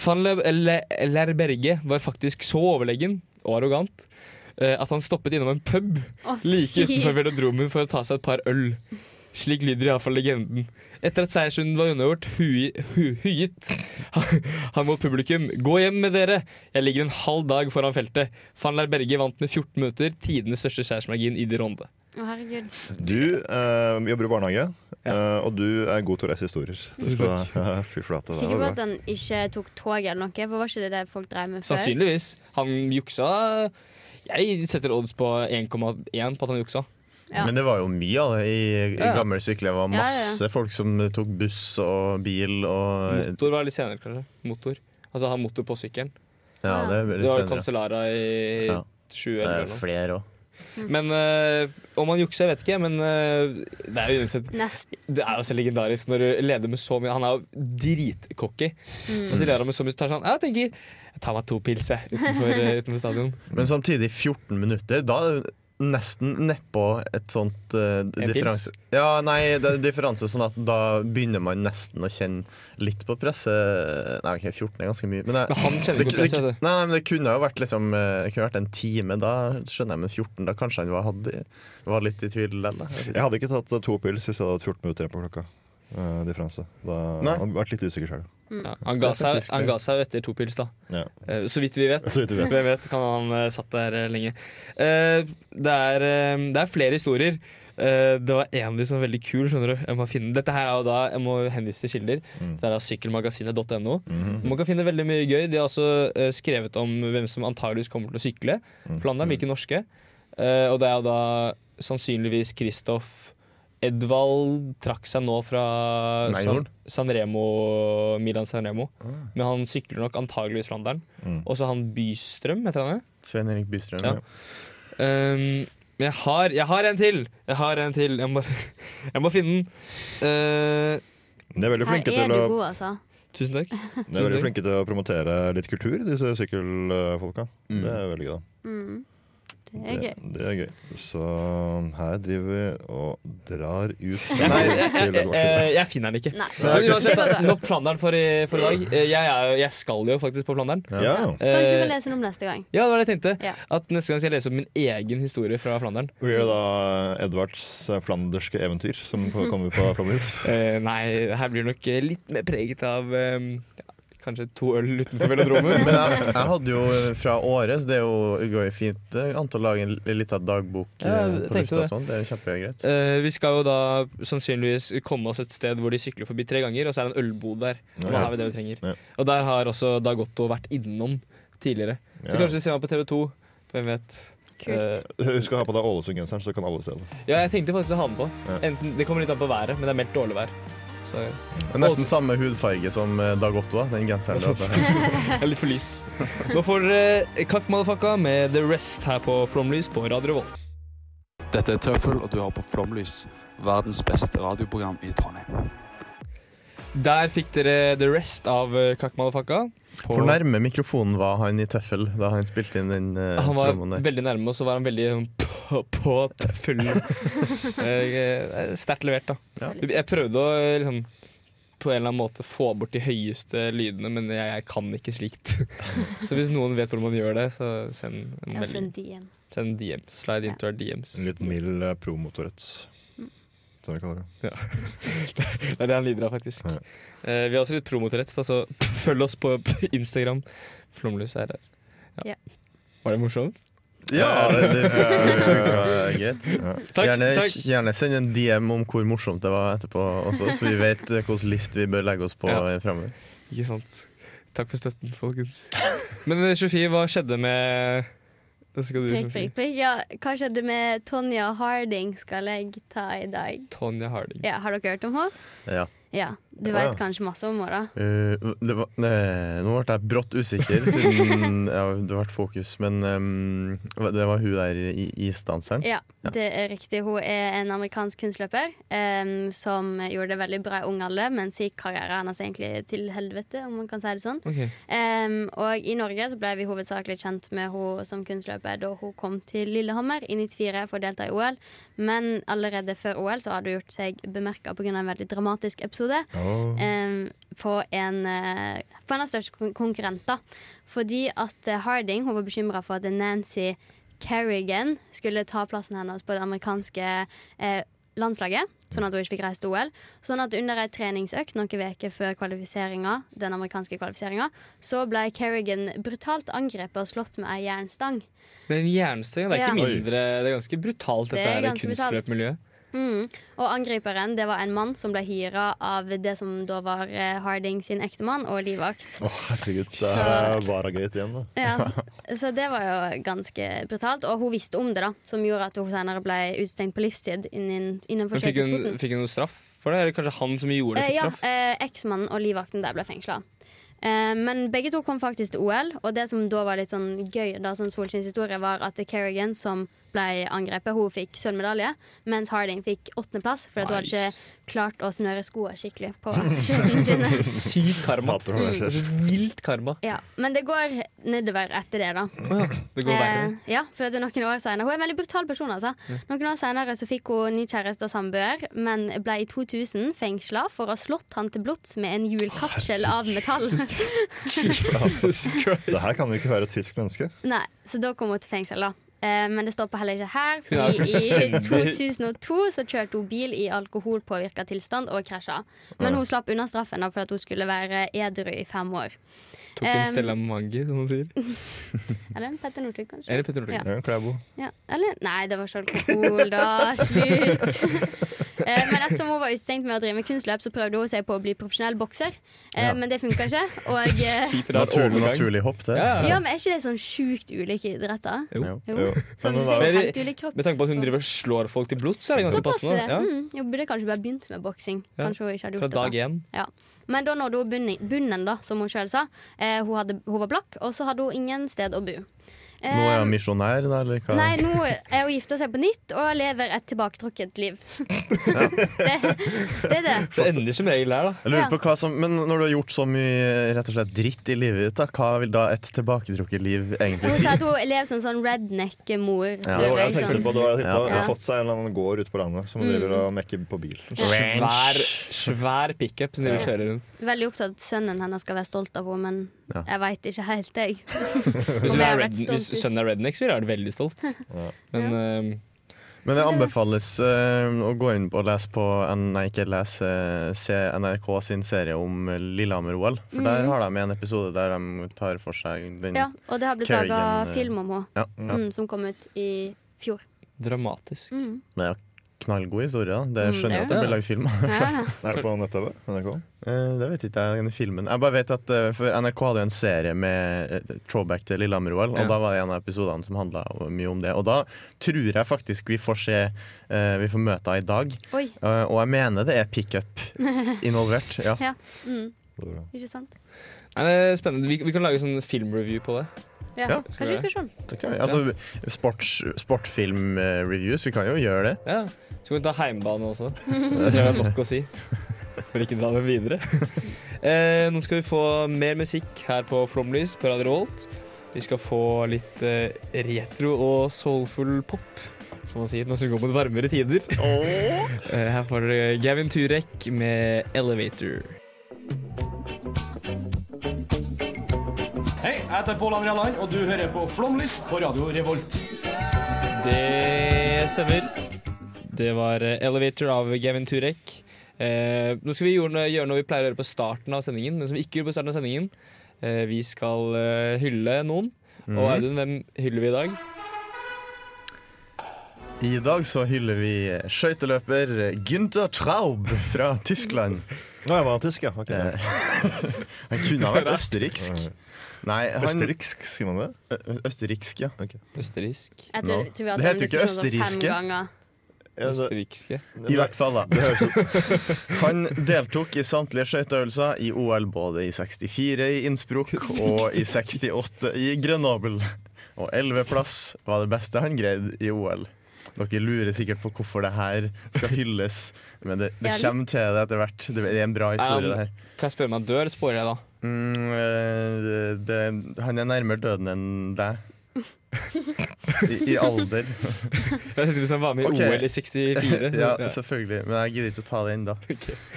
S1: Van Le- Le- Lerberge var faktisk så overlegen og arrogant eh, at han stoppet innom en pub
S9: Å,
S1: like
S9: fy.
S1: utenfor velodromen for å ta seg et par øl. Slik lyder iallfall legenden. Etter at seiersrunden var unnagjort, hui- hu- huiet han- han mot publikum. 'Gå hjem med dere! Jeg ligger en halv dag foran feltet.' Van Lerberge vant med 14 minutter, tidenes største seiersmargin i de ronde.
S4: Å, herregud.
S3: Du eh, jobber i barnehage, eh, og du er god til å reise historier.
S1: Tusen
S3: Så, ja, Fy flate, det
S4: Sikker på
S3: var
S4: at
S3: bra.
S4: han ikke tok toget eller noe, for var ikke det det folk drev med før?
S1: Sannsynligvis. Han juksa Jeg setter odds på 1,1 på at han juksa.
S4: Ja.
S2: Men det var jo mye av det i, i
S1: Ja.
S2: gamle sykler. Det var
S1: Ja, ja, ja.
S2: masse folk som tok buss og bil og
S1: Motor var litt senere, kanskje. Motor. Altså ha motor på sykkelen.
S2: Ja, det er litt
S1: Det var
S2: senere.
S1: Cancellara i
S2: Ja.
S1: 2011
S2: Det
S1: eller
S2: er
S1: noe.
S2: flere òg.
S1: Men eh, om han jukser, jeg vet ikke. Men eh, det er jo uansett
S4: Nesten.
S1: Det er jo så legendarisk når du leder med så mye Han er jo dritcocky. Og
S4: mm.
S3: Mm.
S1: så leder han med så mye tar sånn Jeg tenker jeg tar meg to pils, jeg, utenfor, eh, utenfor stadion.
S2: Men samtidig 14 minutter. Da er det nesten nedpå et sånt eh,
S1: En
S2: differanse.
S1: pils?
S2: Ja, nei, det er differanse sånn at da begynner man nesten å kjenne litt på presset. Nei, ok, 14 er ganske mye. Men, jeg-
S1: Men han kjenner
S2: det-
S1: på presset,
S2: det- Nei, nei, men det kunne jo vært liksom eh, Det kunne vært en time, da skjønner jeg, men 14 Da kanskje han var, hadde, var litt i tvil likevel.
S3: Jeg hadde ikke tatt eh, to pils hvis jeg hadde hatt 14 minutter igjen på klokka. eh, differanse. Da
S2: Nei.
S3: hadde jeg vært litt usikker sjøl.
S1: Ja, han, ga
S3: Det er
S1: seg,
S3: faktisk-
S1: han ga seg jo etter to pils, da.
S3: Ja.
S1: Eh, Så vidt vi vet.
S3: Så vidt vi vet.
S1: Hvem vet, kan han eh, satt der eh, lenge. Eh, det, er, eh, det er flere historier. Eh, det var en av de som var veldig kul. skjønner du jeg må finne. Dette her er jo da, Jeg må henvise til kilder.
S3: Mm.
S1: Det er da sykkelmagasinet.no. Man kan finne veldig mye gøy. De har også eh, skrevet om hvem som antageligvis kommer til å sykle. Flandern liker norske. Eh, og det er jo da sannsynligvis Kristoff Edvald trakk seg nå fra San,
S2: Meinhorn?
S1: Sanremo, Milan Sanremo. Men han sykler nok antageligvis Flandern.
S2: Mm.
S1: Og så han Bystrøm, heter han det?
S2: Svein Erik Bystrøm.
S1: Ja.
S2: ja.
S1: Ehm, men jeg har, jeg har en til! Jeg har en til. Jeg må, jeg må finne den. Eh,
S3: De er veldig
S4: Her
S3: flinke
S4: er
S3: til
S4: du
S3: å
S4: god, altså.
S1: Tusen takk.
S3: De er veldig flinke til å promotere litt kultur, disse sykkelfolka. Det er veldig gøy. da.
S4: Mm. Det er gøy.
S3: Det er gøy. Så her driver vi og drar ut
S1: Nei, jeg, jeg, jeg, jeg, Eh, jeg finner den ikke.
S4: Nei.
S1: Men
S3: Nei,
S1: uansett,
S3: ok.
S1: nok Flandern for i, for i dag. Eh, Jeg, er jo- jeg skal jo faktisk på Flandern.
S3: Ja.
S4: Skal ikke
S1: Eh,
S4: vi lese den om neste gang?
S1: ja, det var det jeg tenkte.
S4: Ja.
S1: At neste gang skal jeg lese opp min egen historie fra Flandern.
S3: Blir det da Edvards eh, flanderske eventyr som på- kommer på Flåmlys?
S1: Eh, nei, her blir det nok eh, litt mer preget av eh, ja, kanskje to øl utenfor velodromen.
S2: Men jeg, jeg hadde jo fra året, så det er jo går jo fint eh, Anton lager en l- liten dagbok eh,
S1: Ja, jeg
S2: på
S1: tenkte
S2: lufta og
S1: det.
S2: sånn. Det er kjempegreit.
S1: Eh, vi skal jo da sannsynligvis komme oss et sted hvor de sykler forbi tre ganger, og så er det en ølbod der. Og da
S2: Ja.
S1: har vi det vi trenger.
S2: Ja.
S1: Og der har også Dag Otto vært innom tidligere. Så
S3: Ja.
S1: kanskje vi ser meg på TV 2. Hvem vet. Eh,
S3: Husk å ha på deg Ålesund-genseren, så kan alle se det.
S1: ja, jeg tenkte faktisk å ha den på.
S3: Ja.
S1: Enten, det kommer litt an på været, men det er meldt dårlig vær. Så,
S2: Det er nesten samme hudfarge som eh, Dag Otto, da, den genseren. altså. du har på.
S1: Jeg er litt for lys. Nå får dere Kakk Malafakka med The Rest her på Flomlys på Radio Revolt.
S10: Dette er Tøffel, og du hører på Flomlys, verdens beste radioprogram i Trondheim.
S1: Der fikk dere The Rest av eh, Kakk Malafakka. På-
S2: Hvor nærme mikrofonen var han i tøffel da han spilte inn den eh,
S1: Han var
S2: promoen der?
S1: veldig nærme, og så var han veldig sånn på, på tøffelen. Eh, eh, Sterkt levert, da. Jeg prøvde å eh, liksom på en eller annen måte få bort de høyeste lydene, men jeg, jeg kan ikke slikt. så hvis noen vet hvordan man gjør det, så send en
S4: Ja,
S1: melding.
S4: send DM.
S1: Send en DM. Slide into our DMs.
S3: En litt mild eh, promotorets,
S4: Mm.
S3: som vi kaller det.
S1: Ja. Det er det han lider av, faktisk. Eh, vi har også litt promotorett, da, så følg oss på Instagram. Flomlys er der.
S4: Ja.
S1: Var det morsomt?
S2: Ja, det, det funka greit.
S1: Takk,
S2: Gjerne,
S1: takk.
S2: gjerne send en DM om hvor morsomt det var etterpå, også, så vi vet eh, hvilken list vi bør legge oss på eh,
S1: Ja.
S2: fremover.
S1: Ikke sant. Takk for støtten, folkens. Men eh, Sofie, hva skjedde med Det skal du
S4: Prikk,
S1: liksom si.
S4: prikk, prikk. Ja, hva skjedde med Tonja Harding skal jeg ta i dag?
S1: Tonja Harding.
S4: Ja, har dere hørt om henne?
S2: Ja.
S4: Ja, du
S2: Ja,
S4: vet
S2: ja.
S4: kanskje masse om henne, da.
S2: Eh, det var, nei, nå ble jeg brått usikker, siden ja, det ble fokus, men ehm, det var hun der i isdanseren.
S4: Ja, det er riktig. Hun er en amerikansk kunstløper em, som gjorde det veldig bra i ung alder, men så gikk karrieren hennes egentlig til helvete, om man kan si det sånn.
S9: Ok.
S4: Em, og i Norge så ble vi hovedsakelig kjent med henne som kunstløper da hun kom til Lillehammer i 94 for å delta i OL, men allerede før OL så hadde hun gjort seg bemerka pga. en veldig dramatisk episode.
S9: Oh.
S4: em, på en eh, på en av største kon- konkurrenter. Fordi at eh, Harding hun var bekymra for at Nancy Kerrigan skulle ta plassen hennes på det amerikanske eh, landslaget. Sånn at hun ikke fikk reist til OL. Sånn at under ei treningsøkt noen uker før kvalifiseringa, den amerikanske kvalifiseringa, så ble Kerrigan brutalt angrepet og slått med ei jernstang.
S1: Men jernstang, det er ikke
S4: Ja.
S1: mindre Det er ganske brutalt,
S4: Det
S1: dette
S4: er
S1: her
S4: ganske brutalt.
S1: kunstløpmiljøet.
S4: Mm. Og angriperen det var en mann som ble hyra av det som da var eh, Harding sin ektemann og livvakt.
S3: Å, herregud. Det er Varagate igjen, da.
S4: Ja, så det var jo ganske brutalt. Og hun visste om det, da, som gjorde at hun senere ble utestengt på livstid innen, innenfor
S1: Men fikk hun,
S4: skøytesporten.
S1: fikk hun noe straff for det? Eller kanskje han som gjorde det,
S4: Eh,
S1: fikk
S4: ja,
S1: straff?
S4: eh, eksmannen og livvakten der ble fengsla. Eh, men begge to kom faktisk til OL, og det som da var litt sånn gøy, da, sånn Solskinns historie, var at Kerrigan, som ble angrepet, hun fikk sølvmedalje, mens Harding fikk åttendeplass, for at hun hadde ikke klart å snøre skoene skikkelig på skøytene sine.
S1: Sykt karma.
S2: Hater
S4: Mm.
S2: når det skjer.
S1: Vilt karma.
S4: Ja, men det går nedover etter det, da.
S1: Det går verre.
S4: Eh, ja, for det er noen år senere. Hun er en veldig brutal person, altså.
S1: Ja.
S4: Noen år senere så fikk hun ny kjæreste og samboer, men ble i 2000 fengsla for å ha slått han til blods med en hjulkapsel av metall.
S3: Det her kan jo ikke være et friskt menneske.
S4: Nei, så da kom hun til fengsel, da. Eh, men det stopper heller ikke her.
S3: Hun er
S4: Fordi I
S3: fullstendig-
S4: 2002 så kjørte hun bil i alkoholpåvirka tilstand og krasja. Men
S1: Ja.
S4: hun slapp unna straffen da, for at hun skulle være edru i fem år.
S1: Tok en
S4: Eh,
S1: Stella Maggi, som hun sier.
S4: Eller en Petter Northug, kanskje.
S1: Eller Petter Northug.
S4: Ja.
S3: Klæbo.
S4: Ja, eller Nei, det var ikke alkohol, da. Slutt. Eh, Men ettersom hun var utestengt med å drive med kunstløp, så prøvde hun seg på å bli profesjonell bokser, eh,
S2: Ja.
S4: men det funka ikke. Og eh,
S2: Sykt
S1: rar
S2: naturlig,
S1: overgang.
S2: naturlig hopp, det.
S4: ja, men Er ikke det sånn sjukt ulike idretter?
S1: Jo.
S4: Som du sier, helt ulik kropp.
S1: Med tanke på at hun driver og slår folk til blods, så er det ganske
S4: Såpass,
S1: passende. Ja.
S4: mm, Hun burde kanskje bare begynt med boksing.
S1: Ja.
S4: Kanskje hun ikke hadde
S1: Fra
S4: gjort
S1: dag
S4: det da.
S1: én.
S4: Ja. Men da nådde hun bunnen, bunnen da, som hun sjøl sa. Eh, hun, hadde, hun var blakk, og så hadde hun ingen sted å bo.
S2: Nå er
S4: Eh,
S2: jeg misjonær, da, eller hva?
S4: Nei, nå er hun gifta seg på nytt og lever et tilbaketrukket liv. det, det er det.
S1: Det ender som regel her, da.
S2: Jeg lurer
S4: Ja.
S2: på hva som, men når du har gjort så mye rett og slett dritt i livet ditt, da, hva vil da et tilbaketrukket liv egentlig
S4: Hun
S2: si?
S4: sa at hun lever som sånn redneck-mor. tror
S2: Ja.
S3: Det var det jeg
S4: jeg,
S3: tenkte på.
S4: sånn.
S3: Det var det jeg tenkte på.
S4: Ja.
S3: Hun har fått seg en eller annen gård ute på landet som
S4: Mm.
S3: driver og mekker på bil.
S1: Svær, svær pickup som de
S3: Ja.
S1: kjører rundt.
S4: Veldig opptatt av at sønnen hennes skal være stolt av henne, men
S1: Ja.
S4: jeg veit ikke helt, jeg.
S1: Hvis, vi
S4: Om jeg
S1: er
S4: har vært
S1: red, hvis
S4: stolt ut.
S1: sønnen er redneck, så ville jeg vært veldig stolt. Men ehm,
S2: Men det anbefales eh, å gå inn og lese på Nei, ikke lese, se NRK sin serie om eh, Lillehammer-OL. For der
S4: Mhm.
S2: har de en episode der de tar for seg den
S4: Ja, og det har blitt
S2: Kerrigan,
S4: laga
S2: eh,
S4: film om henne,
S2: Ja, ja.
S4: mm, som kom ut i fjor.
S1: Dramatisk.
S4: Mm.
S2: Men det er jo knallgod historie, da.
S4: Mm,
S2: Det skjønner jeg
S4: det
S2: at
S4: er det.
S2: det blir lagd film av.
S4: Ja, ja.
S3: Er det på nett-TV? NRK?
S2: Eh, Det vet ikke jeg, den filmen. Jeg bare vet at eh, for NRK hadde jo en serie med eh, throwback til Lillehammer-OL, og
S1: Ja.
S2: da var det en av episodene som handla mye om det. Og da tror jeg faktisk vi får se eh, Vi får møte henne i dag.
S4: Oi.
S2: Eh, og jeg mener det er pickup involvert. Ja.
S4: Ja. Mm. Ikke sant?
S1: nei, det er spennende. Vi, vi kan lage sånn filmreview på det.
S4: Ja.
S2: Ja.
S4: Kanskje vi skal se den.
S2: Det kan vi. Altså, sports, sportfilm-reviews, vi kan jo gjøre det.
S1: Ja. Så kan vi ta heimbane også. Det tror jeg er nok å si. For ikke dra den videre. Eh, nå skal vi få mer musikk her på Flomlys på Radio Revolt. Vi skal få litt eh, retro og soulful pop, som man sier når man går mot varmere tider. Eh, her får dere Gavin Turek med 'Elevator'.
S9: Hei, jeg heter Pål André Land, og du hører på Flomlys på Radio Revolt.
S1: Det stemmer. Det var eh, 'Elevator' av Gavin Turek. Eh, nå skal vi gjøre noe, gjøre noe vi pleier å gjøre på starten av sendingen, men som vi ikke gjorde på starten av sendingen. Eh, vi skal eh, hylle noen. Og
S2: Mhm.
S1: Audun, hvem hyller vi i dag?
S2: I dag så hyller vi eh, skøyteløper Günther Traub fra Tyskland. Nå jeg var tysk, ja. han kunne ha vært østerriksk. Nei, han...
S3: Østerriksk,
S2: sier man det? Østerriksk, ja.
S1: Østerriksk.
S4: Jeg tror,
S2: No.
S4: tror vi har
S2: Det
S4: hatt
S2: heter
S4: den
S2: jo ikke
S4: diskusjonen sånn fem
S2: østerrikske.
S4: ganger.
S1: altså-
S3: altså,
S1: Østerrikske.
S2: I hvert fall, da. Han deltok i samtlige skøyteøvelser i OL både i 64 i Innsbruck og i 68 i Grenoble. Og 11.-plass var det beste han greide i OL. Dere lurer sikkert på hvorfor det her skal hylles, men det,
S1: Ja,
S2: det
S1: litt.
S2: kommer til det etter hvert. Det er en bra historie, det her.
S1: Kan jeg spørre om han dør, eller sporer jeg da?
S2: Mm, eh, det, han er nærmere døden enn deg. I, I alder.
S1: Jeg tenkte hvis han var med i
S2: Ok.
S1: OL i altså. 64.
S2: ja, selvfølgelig, men jeg gidder ikke å ta det ennå.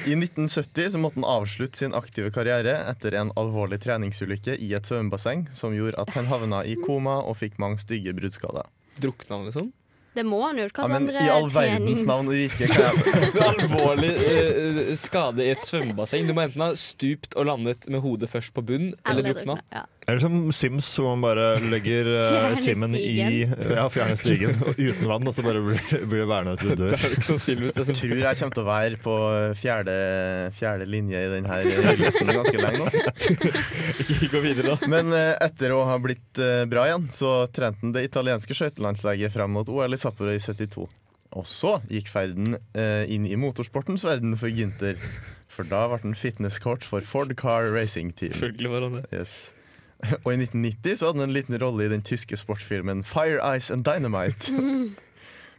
S2: I 1970 så måtte han avslutte sin aktive karriere etter en alvorlig treningsulykke i et svømmebasseng som gjorde at han havna i koma og fikk mange stygge bruddskader.
S1: Drukna han, liksom?
S4: Det må han jo. Hva slags
S2: Ja, men
S4: andre
S2: i all verdens
S4: trenings-
S2: navn og rike kan jeg
S1: Alvorlig eh, skade i et svømmebasseng. Du må enten ha stupt og landet med hodet først på bunn, eller,
S4: Eller
S1: drukna.
S3: Er det som Sims, hvor man bare legger eh,
S1: Fjerne
S3: simmen i
S1: stigen.
S3: Ja, fjerne stigen og uten vann, og så bare blir blir det værende til du dør.
S2: Jeg tror jeg kommer til å være på fjerde, fjerde linje i denne hyllesten liksom ganske lenge nå.
S1: Gå videre, da.
S2: Men eh, etter å ha blitt eh, bra igjen, så trente han det italienske skøytelandslaget fram mot OL i Sapporo i 72. Og så gikk ferden eh, inn i motorsportens verden for Gynter. For da ble han fitnesskort for Ford Car Racing Team.
S1: Selvfølgelig var han det.
S2: Yes. Og i 1990 så hadde han en liten rolle i den tyske sportsfilmen Fire Ice and Dynamite.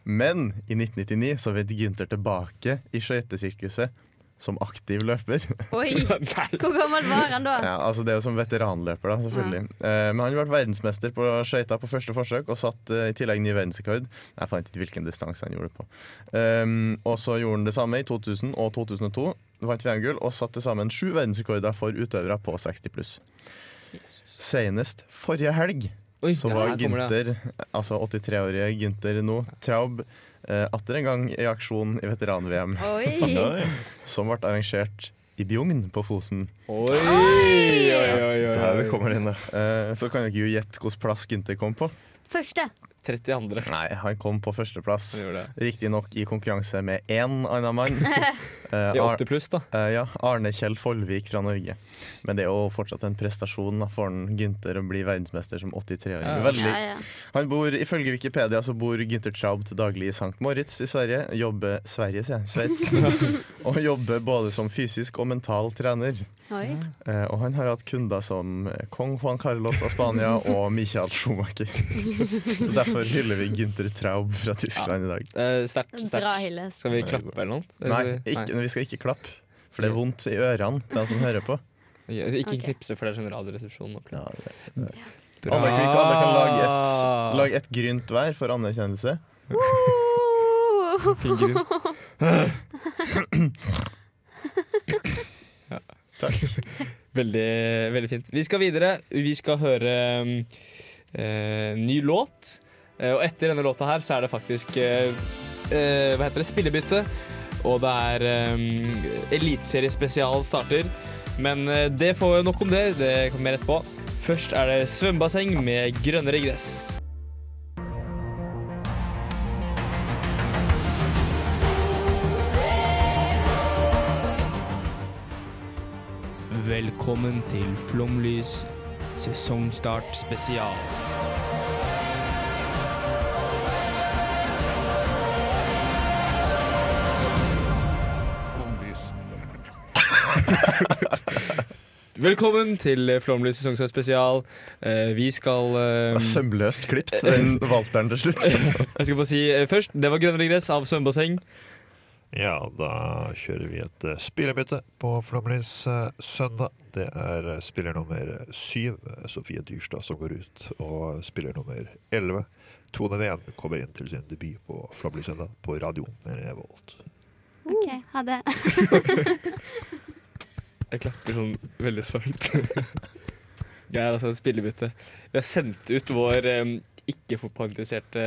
S2: Men i 1999 så vendte Gynter tilbake i skøytesirkuset som aktiv løper.
S4: Oi! Hvor gammel var han da?
S2: Ja, altså Det er jo som veteranløper, da, selvfølgelig. Eh, Men han ble verdensmester på skøyter på første forsøk og satt eh, i tillegg ny verdensrekord. Jeg fant ikke hvilken distanse han gjorde det på. Um, og så gjorde han det samme i 2000 og 2002. Vant VM-gull og satte til sammen sju verdensrekorder for utøvere på 60 pluss. Senest forrige helg så
S1: ja,
S2: var
S1: her kommer det.
S2: Gynter, altså 83-årige Gynter nå, Traub, eh, atter en gang i aksjon i veteran-VM. Sånn
S4: Oi. Oi.
S2: Som ble arrangert i Bjugn på Fosen.
S1: Oi, oi,
S4: oi,
S1: oi.
S2: Der kommer det inn, da. Eh, så kan dere jo gjette hvilken plass Gynter kom på.
S4: Første.
S1: 32.
S2: Nei, han kom på førsteplass.
S1: Han gjorde
S2: Riktignok i konkurranse med én annen mann. Eh,
S1: I 80 pluss, da.
S2: ja. Arne Kjell Follvik fra Norge. Men det er jo fortsatt en prestasjon da, for han Gynter å bli verdensmester som 83-åring.
S1: Ja, ja.
S2: Veldig-
S1: Ja, ja.
S2: Han bor, Ifølge Wikipedia så bor Gynter Traub til daglig i St. Moritz i Sverige. Jobber Sverige, sier jeg. Sveits. og jobber både som fysisk og mental trener.
S4: Oi.
S2: Eh, og han har hatt kunder som eh, kong Juan Carlos av Spania og Michael Schumacher. Så derfor hyller vi Günther Traub fra Tyskland i dag.
S1: Eh, Sterkt. sterkt.
S4: Bra hyllest.
S1: Skal vi klappe eller noe?
S2: Nei, ikke, vi skal ikke klappe, for det er vondt i ørene til han som hører på.
S1: Ikke
S2: Ok.
S1: knipse, for det er sånn radioresepsjon. nå. Bra.
S2: Alle, kan- alle kan lage et, lage et grynt hver for anerkjennelse. Fin grunn. Takk.
S1: Veldig, veldig fint. Vi skal videre. Vi skal høre um, eh, ny låt. Eh, og etter denne låta her så er det faktisk eh, eh, Hva heter det? Spillebytte. Og det er um, Eliteseriespesial starter. Men eh, det får nok om det. Det kommer mer etterpå. Først er det svømmebasseng med grønnere gress. Velkommen til Flomlys sesongstart spesial.
S10: Flomlys.
S1: Velkommen til Flomlys sesongstart spesial. Eh, vi skal eh,
S2: Sømløst klipt, den valteren til slutt.
S1: Jeg skal få si eh, først, det var grønnere gress av svømmebasseng.
S11: Ja, da kjører vi et eh, spillerbytte på Flomlys eh, søndag. Det er eh, spiller nummer syv, eh, Sofie Dyrstad, som går ut. Og spiller nummer elleve, Tone Ven, kommer inn til sin debut på Flomlys søndag på radioen. Revolt.
S4: OK, ha det.
S1: Jeg klapper sånn veldig svakt. Geir, altså spillebytte. Vi har sendt ut vår eh, ikke-fotballinteresserte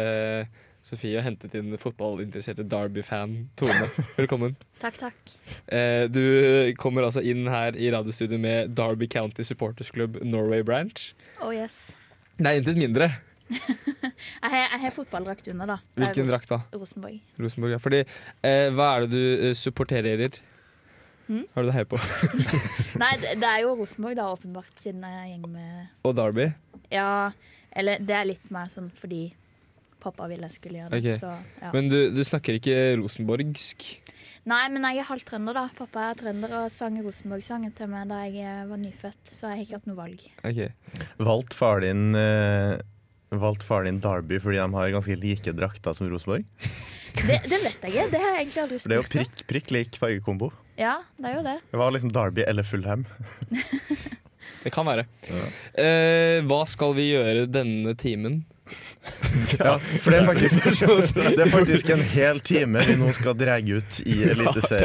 S1: eh, Sofie og hentet inn fotballinteresserte Derby-fan Tone. Velkommen.
S4: Takk, takk.
S1: Eh, du kommer altså inn her i radiostudio med Derby County Supporters Club Norway Branch.
S12: Oh yes.
S1: Nei, intet mindre.
S12: Jeg har, jeg har fotballdrakt under, da.
S1: Hvilken drakt da?
S12: Rosenborg.
S1: Rosenborg, ja. Fordi, eh, hva er det du eh, supporterer?
S12: Mm.
S1: Hva er det du heier på?
S12: Nei, det det er jo Rosenborg, da, åpenbart, siden jeg går med
S1: og Derby?
S12: Ja, eller det er litt mer sånn fordi pappa ville jeg skulle gjøre det.
S1: Ok.
S12: Så, ja.
S1: Men du, du snakker ikke rosenborgsk?
S12: Nei, men jeg er halvt trønder, da. Pappa er trønder og sang Rosenborg-sangen til meg da jeg eh, var nyfødt, så jeg har ikke hatt noe valg.
S2: Valgte faren din eh, Valgte faren din Derby fordi de har ganske like drakter som Rosenborg?
S12: Det, det vet jeg ikke. Det har jeg egentlig aldri
S2: For det er jo
S12: spurt om.
S2: prikk, prikk lik fargekombo.
S12: Ja, det er jo det.
S2: Det var liksom Derby eller Fulham.
S1: Det kan være. Eh, hva skal vi gjøre denne timen?
S2: Ja, for det er faktisk, det er faktisk en hel time vi nå skal dra ut i
S1: Ja, det er så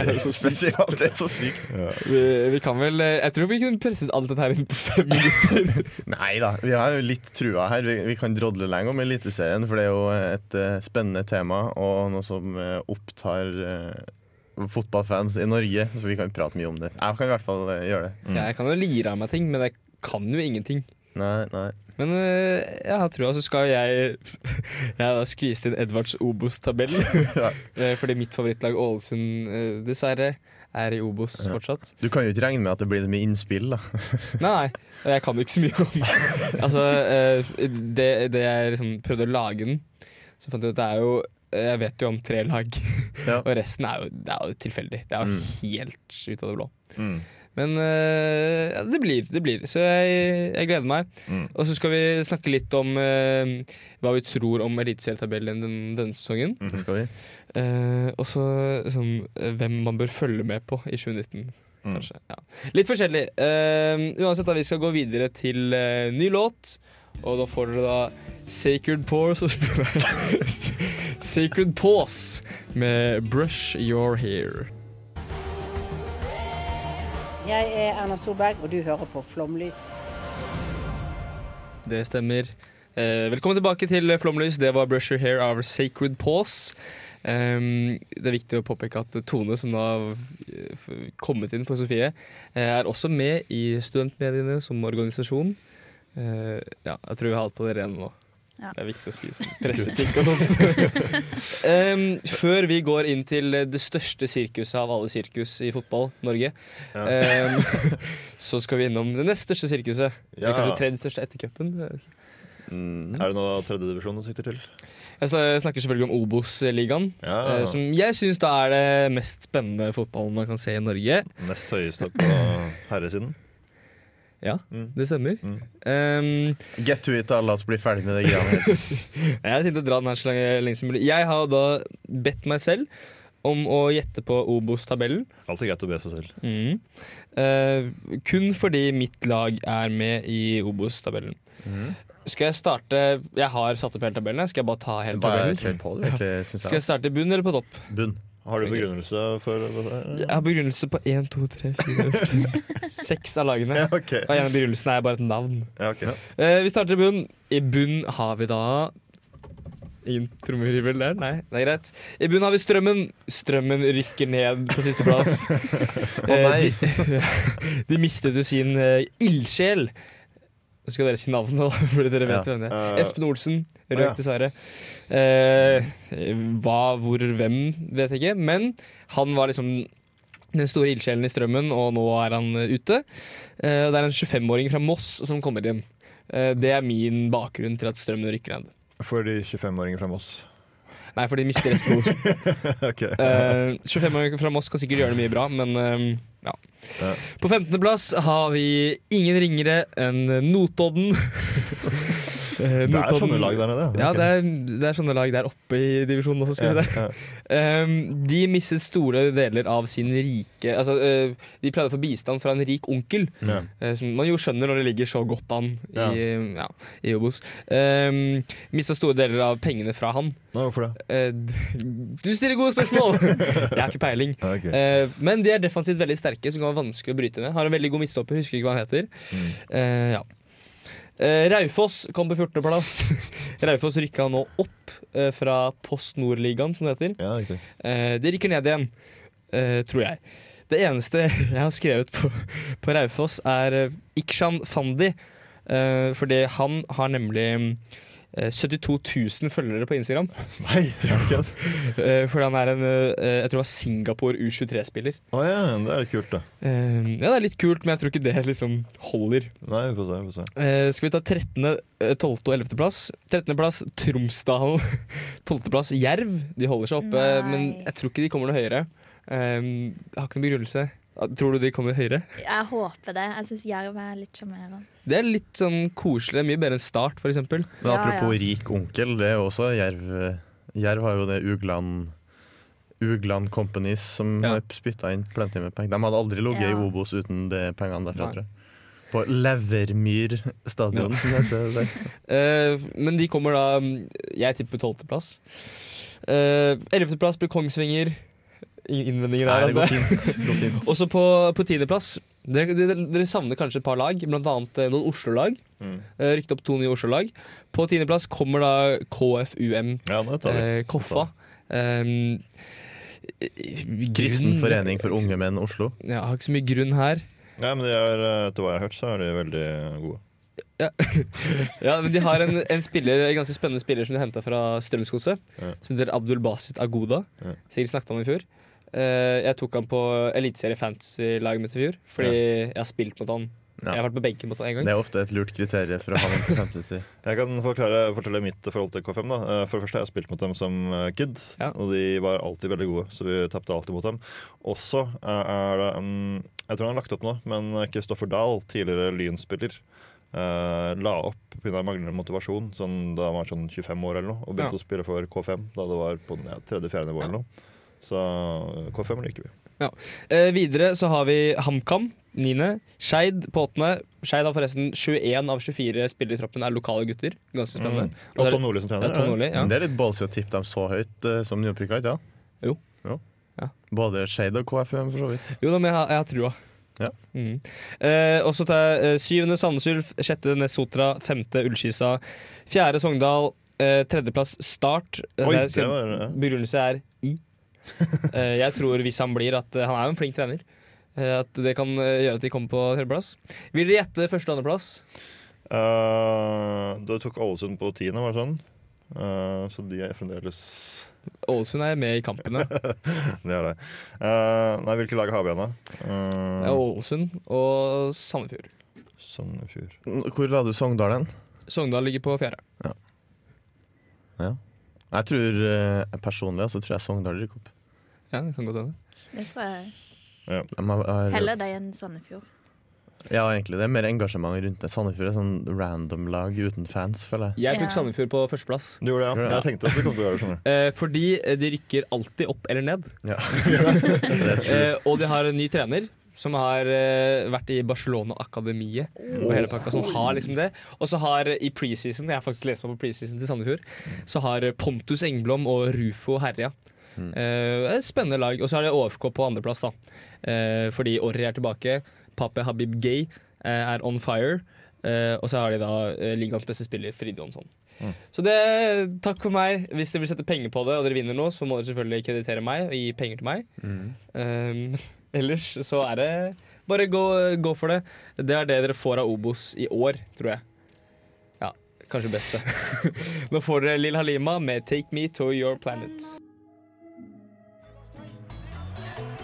S2: Eliteserien.
S1: sykt.
S2: Spesielt, det er så sykt.
S1: vi, vi kan vel eh, Jeg tror vi kunne presset alt dette her inn på fem minutter.
S2: Nei da, vi har jo litt trua her. Vi, vi kan drodle lenge om Eliteserien, for det er jo et eh, spennende tema og noe som eh, opptar eh, fotballfans i Norge, så vi kan prate mye om det. Jeg kan i hvert fall eh, gjøre det.
S1: Jeg kan jo lire av meg ting, men jeg kan jo ingenting.
S2: Nei, nei.
S1: Men eh, jeg har trua, så skal jeg Jeg har da skvist inn Edvards Obos-tabell. Eh, Fordi mitt favorittlag Ålesund eh, dessverre er i Obos
S2: Ja.
S1: fortsatt.
S2: Du kan jo ikke regne med at det blir så mye innspill, da.
S1: Nei, nei, jeg kan jo ikke så mye om det. Altså, eh, det, det jeg liksom prøvde å lage den, så fant jeg ut at det er jo eh, Jeg vet jo om tre lag, og resten er jo, det er jo tilfeldig. Det er jo helt ut av det blå.
S3: Mm.
S1: Men eh, ja, det blir, det blir. Så jeg, jeg gleder meg.
S3: Mm.
S1: Og så skal vi snakke litt om eh, hva vi tror om eliteserietabellen den, denne sesongen.
S2: Det skal vi.
S1: Eh, og så sånn, eh, hvem man bør følge med på i 2019. Kanskje. Ja. Litt forskjellig. Eh, uansett, da, vi skal gå videre til eh, ny låt. Og da får dere da Sacred Pause og spiller Sacred Pause med Brush Your Hair.
S13: Jeg er Erna Solberg, og du hører på Flomlys.
S1: Det stemmer. Eh, velkommen tilbake til Flomlys. Det var Brush Your Hair av Sacred Pause. Ehm, det er viktig å påpeke at Tone, som da har eh, f- kommet inn for Sofie, eh, er også med i studentmediene som organisasjon. Eh, ja, jeg tror vi har alt på det rene nå.
S12: Ja.
S1: Det er viktig å si sånn pressetikk og sånt. Ehm, før vi går inn til det største sirkuset av alle sirkus i fotball, Norge,
S14: Ja.
S1: ehm, så skal vi innom det nest største sirkuset. Eller
S3: Ja.
S1: kanskje tredje største etter cupen. jeg vet ikke.
S3: Mm. Er det noe tredjedivisjon du sikter til?
S1: Jeg sn- snakker selvfølgelig om Obos-ligaen,
S3: Ja.
S1: eh, som jeg syns da er det mest spennende fotballen man kan se i Norge.
S3: Nest høyeste på herresiden.
S1: Ja, det stemmer.
S3: Mm.
S1: Ehm,
S2: Get to it, da. La oss bli ferdig med det greia her.
S1: Jeg tenkte å dra den her så lenge, lenge som mulig. Jeg har da bedt meg selv om å gjette på Obos-tabellen.
S3: Alltid greit å be seg selv.
S1: Mm. Eh, kun fordi mitt lag er med i Obos-tabellen.
S3: Mm.
S1: Skal jeg starte Jeg har satt opp hele tabellen. jeg. Skal jeg bare ta hele
S2: Bare
S1: tabellen?
S2: kjør på, du, egentlig, synes jeg.
S1: Skal jeg starte i bunn eller på topp?
S2: Bunn.
S3: Har du
S1: Ok.
S3: begrunnelse for dette?
S1: Jeg har begrunnelse på én, to, tre, fire, fem, seks av lagene. Og en av begrunnelsene er bare et navn. Eh, vi starter i bunn. I bunn har vi da Ingen trommevirvel der? Nei, det er greit. I bunn har vi Strømmen. Strømmen rykker ned på sisteplass.
S2: nei.
S1: de, de mistet jo sin eh, ildsjel. Nå skal dere si navnet, da, fordi dere vet
S2: Ja.
S1: hvem det er.
S2: Eh,
S1: Espen Olsen
S2: å,
S1: røk
S2: ja.
S1: dessverre. Eh, hva, hvor, hvem, vet jeg ikke. Men han var liksom den store ildsjelen i strømmen, og nå er han eh, ute. Eh, og det er en 25-åring fra Moss som kommer inn. Eh, det er min bakgrunn til at strømmen rykker ned.
S3: For de 25-åringene fra Moss.
S1: Nei, for de mister Espen Olsen.
S3: Ok.
S1: Eh, 25-åringen fra Moss kan sikkert gjøre det mye bra, men eh, ja. På 15.-plass har vi ingen ringere enn Notodden. Eh,
S3: Det er sånne lag der nede, ja.
S1: Ja,
S3: Ok.
S1: det er, det er sånne lag der oppe i divisjonen også, skal vi si
S3: Ja,
S1: det. Um, de mistet store deler av sin rike Altså, eh, de pleide å få bistand fra en rik onkel.
S3: Ja.
S1: eh, som man jo skjønner når det ligger så godt an i,
S3: Ja.
S1: ja, i Obos. Um, mista store deler av pengene fra han.
S3: Nei, hvorfor det?
S1: Eh, du stiller gode spørsmål! Jeg har ikke peiling. Eh, men de er defensivt veldig sterke, som kan være vanskelig å bryte ned. Har en veldig god midtstopper, husker ikke hva han heter. Eh, ja. Eh, Raufoss kom på 14.-plass. Raufoss rykka nå opp eh, fra Post Nord-ligaen, som det heter. Eh, de rykker ned igjen, eh, tror jeg. Det eneste jeg har skrevet på, på Raufoss, er eh, Ikshan Fandi. Eh, fordi han har nemlig eh, 72 000 følgere på Instagram. Nei, eh, Fordi han er en eh, Jeg tror han var Singapore U23-spiller.
S3: Å ja, det er litt kult, det.
S1: Eh, ja, det er litt kult, men jeg tror ikke det liksom holder.
S3: Nei, vi får se. Vi får se.
S1: Eh, skal vi ta 13., eh, 12. og 11. plass? 13. plass Tromsdalen. 12. plass Jerv. De holder seg oppe,
S12: Nei.
S1: men jeg tror ikke de kommer noe høyere. Eh, jeg har ikke noen begrunnelse. Ah, Tror du de kommer høyere?
S12: Jeg håper det. Jeg syns jerv er litt sjarmerende.
S1: Det er litt sånn koselig. Mye bedre enn Start, f.eks.
S12: Men Ja, apropos ja.
S2: rik onkel, det er jo også Jerv. Jerv har jo det Ugland Ugland Companies som har spytta inn plenty med penger. De hadde aldri ligget
S12: Ja.
S2: i Obos uten de pengene
S1: Nei.
S2: derfra, tror jeg. På Levermyr stadion, som det heter der.
S1: Eh, men de kommer da mm, Jeg tipper 12. plass. Eh, 11. plass blir Kongsvinger. Ingen innvendinger der. altså.
S2: Nei, det går
S1: Anne.
S2: fint. Det går fint.
S1: Også på, på 10. plass. Dere, dere, dere savner kanskje et par lag, blant annet eh, noen Oslo-lag.
S3: Mm.
S1: Eh, Rykket opp to nye Oslo-lag. På 10. plass kommer da KFUM
S3: tar vi.
S1: eh, Koffa. Um,
S2: Kristen forening for unge menn Oslo.
S1: Ja, har ikke så mye grunn her.
S3: Nei, men de er, eh, etter hva jeg har hørt, så er de veldig gode.
S1: Ja. ja, men De har en, en, spiller, en ganske spennende spiller som de henta fra Strømsgodset.
S3: Ja.
S1: Som heter Abdul Basit Agoda.
S3: Ja.
S1: Sikkert snakket om i fjor. Eh, jeg tok han på Eliteserie Fantasy-laget mitt i fjor, fordi jeg har spilt mot han.
S2: Ja.
S1: Jeg har vært på benken mot han en gang.
S2: Det er ofte et lurt kriterium for å ha noen på fantasy.
S3: Jeg kan forklare, fortelle mitt forhold til K5. da. Eh, For det første har jeg spilt mot dem som eh, kid, og de var alltid veldig gode, så vi tapte alltid mot dem. Også eh, er det mm, Jeg tror han har lagt opp nå, men Kristoffer Dahl, tidligere Lyn-spiller, eh, la opp pga. manglende motivasjon sånn, da han var sånn 25 år eller noe, og
S1: Ja.
S3: begynte å spille for K5 da det var på ja, tredje-fjerde nivå eller noe. Så eh, K5 liker vi.
S1: Ja. Eh, videre så har vi HamKam, niende. Skeid på åttende. Skeid har forresten 21 av 24 spillere i troppen er lokale gutter. Ganske
S3: Mm.
S1: spennende. Og der- Ja, Tom Nordli, ja.
S2: Men Det er litt ballsy å tippe dem så høyt eh, som nyopprykka, ikke sant?
S1: Jo.
S2: Både Shade og KFUM, for så vidt.
S1: Jo da, men jeg har, jeg har trua.
S2: Ja.
S1: Mm. Eh, og så tar jeg eh, syvende Sandnes Ulf, sjette Nessotra, femte Ullskisa, fjerde Sogndal, eh, tredjeplass Start. Eh,
S3: Oi,
S1: der skal-
S3: det var- ja.
S1: Begrunnelse er i. Eh, jeg tror hvis han blir at eh, Han er jo en flink trener. Eh, at det kan eh, gjøre at de kommer på tredjeplass. Vil dere gjette første og andreplass?
S3: Eh, du tok Ålesund på tiende, var det sånn? Eh, så de er fremdeles
S1: Ålesund er med i kampene.
S3: Det er det. Eh, nei, hvilke lag har vi igjen, da? Eh,
S1: Det er Ålesund og Sandefjord.
S3: Sandefjord.
S2: Hvor la du Sogndal hen?
S1: Sogndal ligger på fjerde.
S2: Ja. Jeg tror eh, personlig altså, tror jeg Sogndal rykker opp.
S1: Ja, det kan godt hende.
S12: Det tror jeg.
S2: De har- har-
S12: Heller det enn Sandefjord.
S2: Ja, egentlig. Det er mer engasjement rundt det. Sandefjord er sånn random lag uten fans, føler jeg.
S1: Jeg tok
S12: Ja.
S1: Sandefjord på førsteplass.
S3: Du gjorde det, ja. Jeg tenkte at du kom til å gjøre det. skjønner du.
S1: Eh, fordi eh, de rykker alltid opp eller ned. eh, og de har en ny trener som har eh, vært i Barcelona-akademiet og hele pakka. Så han har liksom det. Og så har eh, i preseason, jeg har faktisk lest meg på preseason til Sandefjord, så har eh, Pontus Engblom og Rufo herja. Eh, et spennende lag. Og så har de OFK på andreplass, da. Eh, fordi Orri er tilbake. Pape Habib Gay eh, er on fire. Eh, og så har de da eh, ligaens beste spiller, Fride Jonsson. Så det, takk for meg. Hvis dere vil sette penger på det, og dere vinner noe, så må dere selvfølgelig kreditere meg og gi penger til meg. Um, ellers så er det bare gå, gå for det. Det er det dere får av Obos i år, tror jeg. Ja, kanskje best det. Nå får dere Lill Halima med 'Take Me To Your Planet'.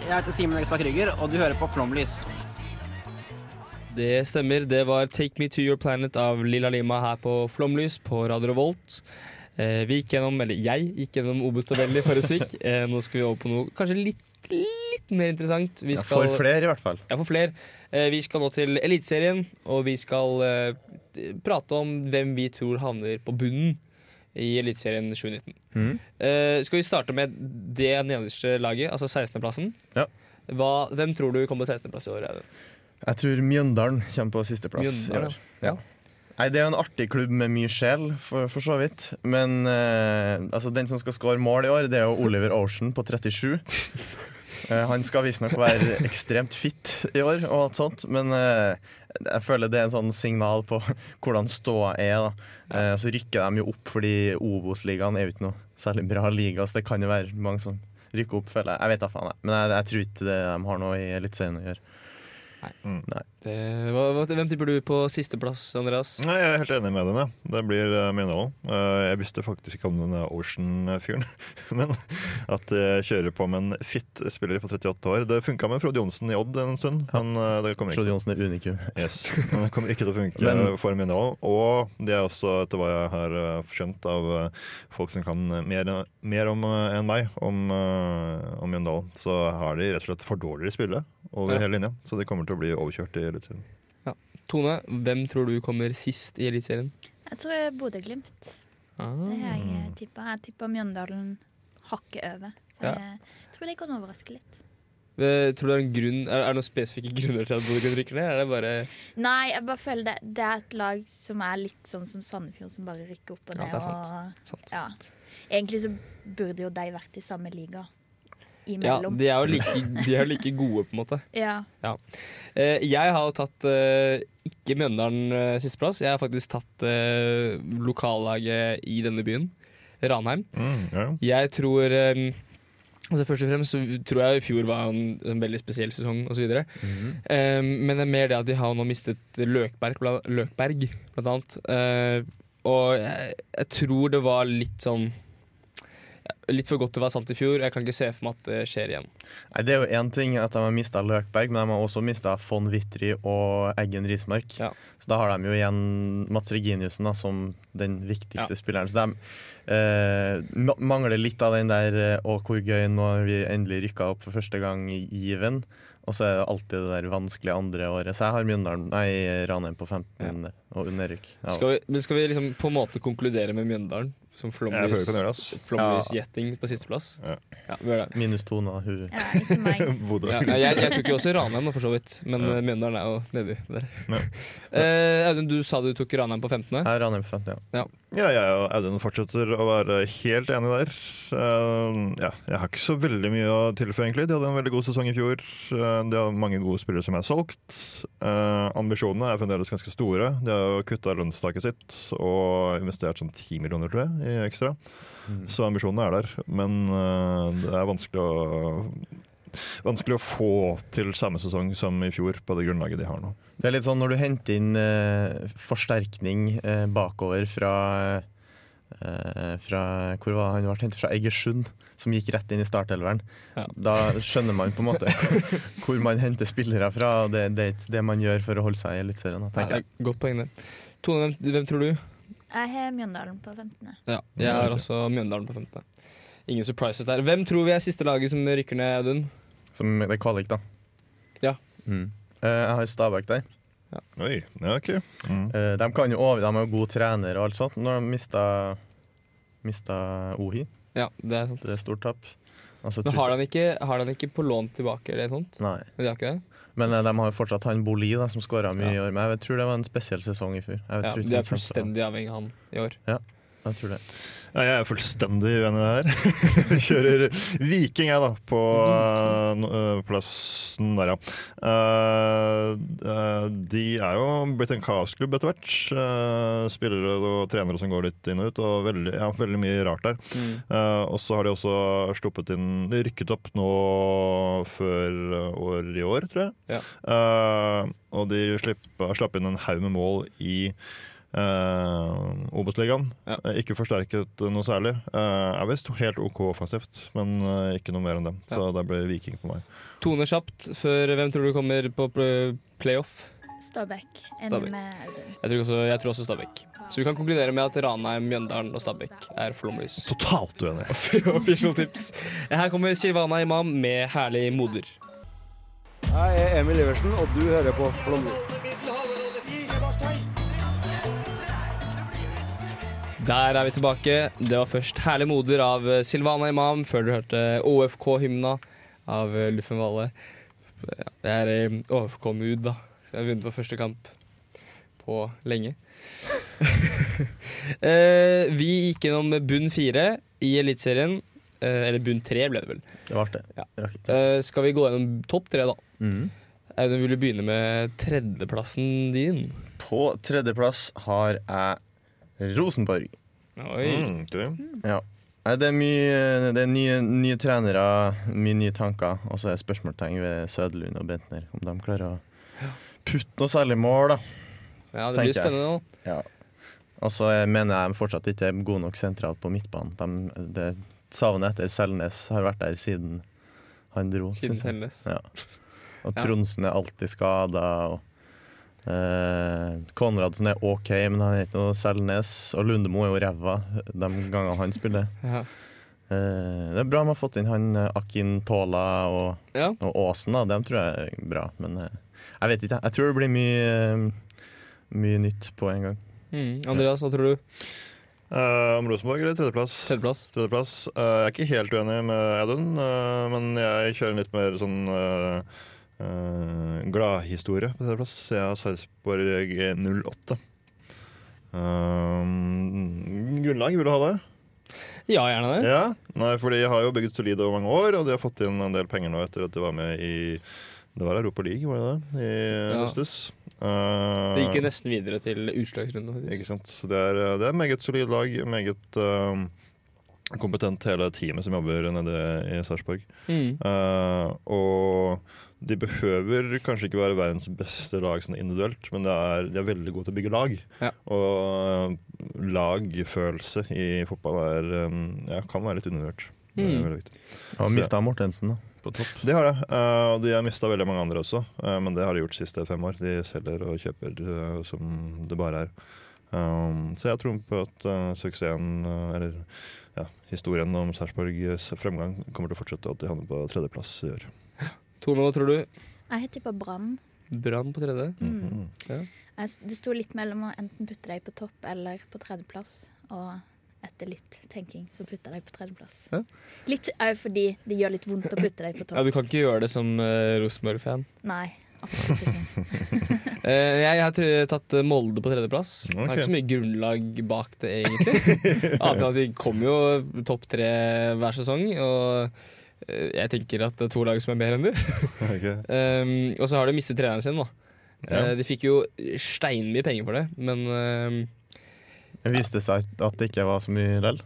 S14: Jeg heter Simen Ekstad Krüger, og du hører på Flomlys.
S1: Det stemmer. Det var 'Take Me To Your Planet' av Lilla Lima her på Flomlys på Radio Revolt. Eh, vi gikk gjennom, eller jeg gikk gjennom Obos-tabellen i forrige stikk. Eh, nå skal vi over på noe kanskje litt, litt mer interessant. Vi
S2: Ja, for flere, i hvert fall.
S1: Ja, for flere. Eh, vi skal nå til Eliteserien, og vi skal eh, prate om hvem vi tror havner på bunnen i Eliteserien 2019.
S2: Mhm.
S1: Eh, skal vi starte med det nederste laget, altså 16.-plassen?
S2: Ja.
S1: Hva- Hvem tror du kommer på 16.-plass i år? Eivind?
S2: Jeg tror Mjøndalen kommer på sisteplass i
S1: Mjøndalen,
S2: år.
S1: ja. Ja.
S2: Nei, Det er jo en artig klubb med mye sjel, for, for så vidt. Men eh, altså, den som skal skåre mål i år, det er jo Oliver Ocean på 37. Eh, Han skal visstnok være ekstremt fit i år, og alt sånt, men eh, jeg føler det er en sånn signal på hvordan ståa er. da. Eh, Så rykker de jo opp, fordi Obos-ligaen er jo ikke noe særlig bra liga, så det kan jo være mange som rykker opp, føler jeg. Jeg vet da faen, jeg. Men jeg, jeg tror ikke det de har noe i Eliteserien å gjøre.
S1: Nei. Det, hva, hva, hvem tipper du på sisteplass, Andreas?
S3: Nei, Jeg er helt enig med denne. Det blir uh, Mjøndalen. Eh, jeg visste faktisk ikke om denne Ocean-fyren. Men at jeg kjører på med en fitt spiller på 38 år Det funka med Frode Johnsen i Odd en stund. Men eh, det kommer
S2: Frode
S3: ikke,
S2: Johnsen er unikum.
S3: yes. men det kommer ikke til å funke eh,
S2: Men-
S3: for Mjøndalen. Og det er også, etter hva jeg har eh, skjønt av eh, folk som kan eh, mer, mer om, eh, enn meg om, eh, om Mjøndalen, så har de rett og slett for dårligere spillere over
S1: Ja.
S3: hele linja. Så de kommer til å bli overkjørt i Eliteserien.
S1: Ja. Tone, hvem tror du kommer sist i Eliteserien?
S12: Jeg tror Bodø-Glimt. Det har jeg tippa. Jeg tippa Mjøndalen hakket over.
S1: Mm. Ja.
S12: Jeg tror det kan overraske litt.
S1: Eh, Tror du det er en grunn Er, er det noen spesifikke grunner til at Bodø Glimt rykker ned? Er det bare
S12: Nei, jeg bare føler det, det er et lag som er litt sånn som Sandefjord, som bare rykker opp og
S1: Ja,
S12: ned.
S1: det er sant.
S12: Og, Ja. Egentlig så burde jo de vært i samme liga imellom.
S1: Ja, de er jo like, de er jo like gode, på en måte.
S12: Ja.
S1: Eh, jeg har jo tatt eh, ikke Mjøndalen eh, sisteplass. Jeg har faktisk tatt eh, lokallaget i denne byen, Ranheim. Jeg tror eh, altså Først og fremst så tror jeg i fjor var en, en veldig spesiell sesong osv.
S15: Mhm.
S1: Eh, men det er mer det at de har nå mistet Løkberg, bla, Løkberg blant annet. Eh, og jeg, jeg tror det var litt sånn Litt for godt til å være sant i fjor. Jeg kan ikke se for meg at det skjer igjen.
S2: Nei, Det er jo én ting at de har mista Løkberg, men de har også mista von Witry og Eggen Rismark. Så da har de jo igjen Mats Reginiussen da, som den viktigste
S1: Ja.
S2: spilleren. Så de eh, ma- mangler litt av den der eh, 'Å, hvor gøy, nå har vi endelig rykka opp for første gang i given'. Og så er det alltid det der vanskelige andre året. Så jeg har Mjøndalen, nei, Ranheim på 15 og nedrykk. Ja.
S1: Skal vi, men skal vi liksom på en måte konkludere med Mjøndalen som
S2: Jeg føler vi kan gjøre det,
S1: Flåmlys
S2: ass.
S1: Flåmlys
S2: Ja.
S1: gjetting på sisteplass? Ja. vi gjør det.
S2: Minus to nå. Hun. Bodø.
S1: Ja, nei, jeg, jeg tok jo også Ranheim, nå, for så vidt, men eh, Mjøndalen er jo nedi der. Eh, Audun, du sa du tok Ranheim på 15.
S2: Ja, Ranheim på 15,
S1: ja.
S3: Ja, jeg og Audun fortsetter å være helt enig der. Eh, ja, jeg har ikke så veldig mye å tilføye, egentlig. De hadde en veldig god sesong i fjor. Eh, de har mange gode spillere som er solgt. Eh, ambisjonene er fremdeles ganske store. De har jo kutta lønnstaket sitt og investert sånn 10 millioner, tror jeg, i ekstra. Så ambisjonene er der. Men eh, det er vanskelig å Vanskelig å få til samme sesong som i fjor, på det grunnlaget de har nå.
S2: Det er litt sånn når du henter inn eh, forsterkning eh, bakover fra eh, fra, Hvor var han vært hentet? Fra Egersund, som gikk rett inn i startelveren. Da skjønner man på en måte hvor man henter spillere fra. og Det, det er ikke det man gjør for å holde seg i Eliteserien. da,
S1: Ja,
S2: tenker
S1: det er Godt poeng, det. Tone, hvem, hvem tror du?
S12: Jeg har Mjøndalen på 15.
S1: Ja, jeg har også Mjøndalen på 15. Ingen surprises der. Hvem tror vi er siste laget som rykker ned, Audun?
S2: jeg. Som det er kvalik, da.
S1: Ja.
S2: Mm. Eh, jeg har Stabæk der.
S3: Oi, ja, ok. Mm.
S2: Eh, de, kan jo over, de er jo gode trenere og alt sånt. Når de mista, mista Ohi,
S1: Ja, det er sant.
S2: det er stort tap. Altså,
S1: Men har han, ikke, har han ikke på lån tilbake eller noe sånt?
S2: Nei.
S1: De har ikke det?
S2: Men eh, de har jo fortsatt han Boli, da, som skåra mye i år. Men jeg tror det var en spesiell sesong i fjor. Jeg
S1: Ja,
S2: tror ikke
S1: de er
S2: han kjemper-
S1: fullstendig avhengig av han i år.
S2: Ja, jeg tror det.
S3: Ja, jeg er fullstendig uenig her. Kjører Viking, jeg, da, på eh, no- eh, plassen der, ja. Eh, eh, de er jo blitt en kaosklubb etter hvert. Eh, spillere og trenere som går litt inn og ut, og veldig, ja, veldig mye rart der. Eh, og så har de også sluppet inn De rykket opp nå før eh, år i år, tror jeg. Eh, og de slippa, slapp inn en haug med mål i Eh, Obos-ligaen. Eh, Ikke forsterket noe særlig. Eh, er visst helt OK offensivt, men eh, ikke noe mer enn dem. Så det blir Viking på meg.
S1: Tone kjapt før hvem tror du kommer på pl- playoff?
S12: Stabæk.
S1: Stabæk.
S12: Enig med Audun.
S1: Jeg tror også, jeg tror også Stabæk. Så vi kan konkludere med at Ranheim, Mjøndalen og Stabæk er flomlys.
S3: Totalt uenig.
S1: Official tips. Her kommer Silvana Imam med 'Herlig moder'.
S16: Jeg er Emil Iversen, og du hører på Flåmlys.
S1: Der er vi tilbake. Det var først 'Herlig moder' av eh, Silvana Imam, før du hørte OFK-hymna av eh, Luffen Valle. Ja, Jeg er eh, i OFK-mood, da. Så jeg har vunnet for første kamp på lenge. Eh, vi gikk gjennom bunn fire i Eliteserien. eh, eller bunn tre ble det vel.
S2: Det var artig.
S1: Ja.
S2: Rakk ikke.
S1: Eh, skal vi gå gjennom topp tre, da?
S2: Mhm.
S1: Audun, vil du begynne med tredjeplassen din?
S2: På tredjeplass har jeg Rosenborg.
S1: Oi.
S3: Mm, det.
S2: Ja. Nei, Det er mye eh, det er nye, nye trenere, mye nye tanker, og så er spørsmålstegn ved Søderlund og Bentner. Om de klarer å putte noe særlig mål, da.
S1: Ja, det blir
S2: tenker jeg.
S1: spennende nå.
S2: Ja. Og så eh, mener jeg de fortsatt ikke er gode nok sentralt på midtbanen. De, eh, det savnet etter Selnes har vært der siden han dro.
S1: Siden
S2: synes jeg.
S1: Selnes.
S2: Ja. Og
S1: Ja.
S2: Tronsen er alltid skada. Eh, Konradsen er OK, men han er ikke noe Selnes. Og Lundemo er jo ræva de gangene han spiller.
S1: Ja.
S2: Eh, det er bra man har fått inn han eh, Akin Tola og,
S1: Ja.
S2: og Aasen. Da. Dem tror jeg er bra, men eh, jeg vet ikke. Jeg tror det blir mye, eh, mye nytt på en gang.
S1: Mm. Andreas, hva tror du?
S3: Eh, om Rosenborg eller tredjeplass?
S1: Tredjeplass.
S3: Tredjeplass. Eh, jeg er ikke helt uenig med Audun, eh, men jeg kjører en litt mer sånn uh, gladhistorie på tredjeplass. Jeg har Sarpsborg 08. Eh, grunnlag, vil du ha det?
S1: Ja, gjerne det.
S3: Ja, nei, for de har jo bygget solid over mange år, og de har fått inn en del penger nå etter at de var med i Det var Europa League, var det det? I
S1: Ja.
S3: høstes. Eh,
S1: Det gikk jo nesten videre til utslagsrunden. faktisk.
S3: ikke sant? Så Det er, det er meget solid lag. Meget eh, kompetent hele teamet som jobber nede i Sarpsborg.
S1: Mm.
S3: Eh, og de behøver kanskje ikke være verdens beste lag sånn individuelt, men det er, de er veldig gode til å bygge lag. Og eh, lagfølelse i fotball er, eh, ja, kan være litt undervurdert. Det er
S2: Mm.
S3: veldig viktig.
S2: Og
S3: Så-
S2: mista Mortensen, da. På topp.
S3: det har det. eh, Og de har mista veldig mange andre også, eh, men det har de gjort de siste fem år. De selger og kjøper eh, som det bare er. Um, så jeg tror på at eh, suksessen, eh, eller ja, historien om Sarpsborgs fremgang, kommer til å fortsette, og at de havner på tredjeplass i år.
S1: Tone, hva tror du?
S12: Jeg tipper Brann.
S1: Brann på tredje?
S12: Mhm.
S1: Ja.
S12: Jeg s- Det sto litt mellom å enten putte deg på topp eller på tredjeplass. Og etter litt tenking så putter jeg deg på tredjeplass.
S1: Ja.
S12: Litt òg fordi det gjør litt vondt å putte deg på topp.
S1: ja, Du kan ikke gjøre det som eh, Rosenborg-fan.
S12: Nei, absolutt ikke.
S1: Eh, jeg har tr- tatt eh, Molde på tredjeplass. Det er ikke så mye grunnlag bak det, egentlig. Annet enn at de kommer jo topp tre hver sesong, og eh, jeg tenker at det er to lag som er bedre enn de. Um, og så har de mistet treneren sin, da.
S2: Ja.
S1: Eh, de fikk jo steinmye penger for det, men um,
S2: Det viste seg at det ikke var så mye lell.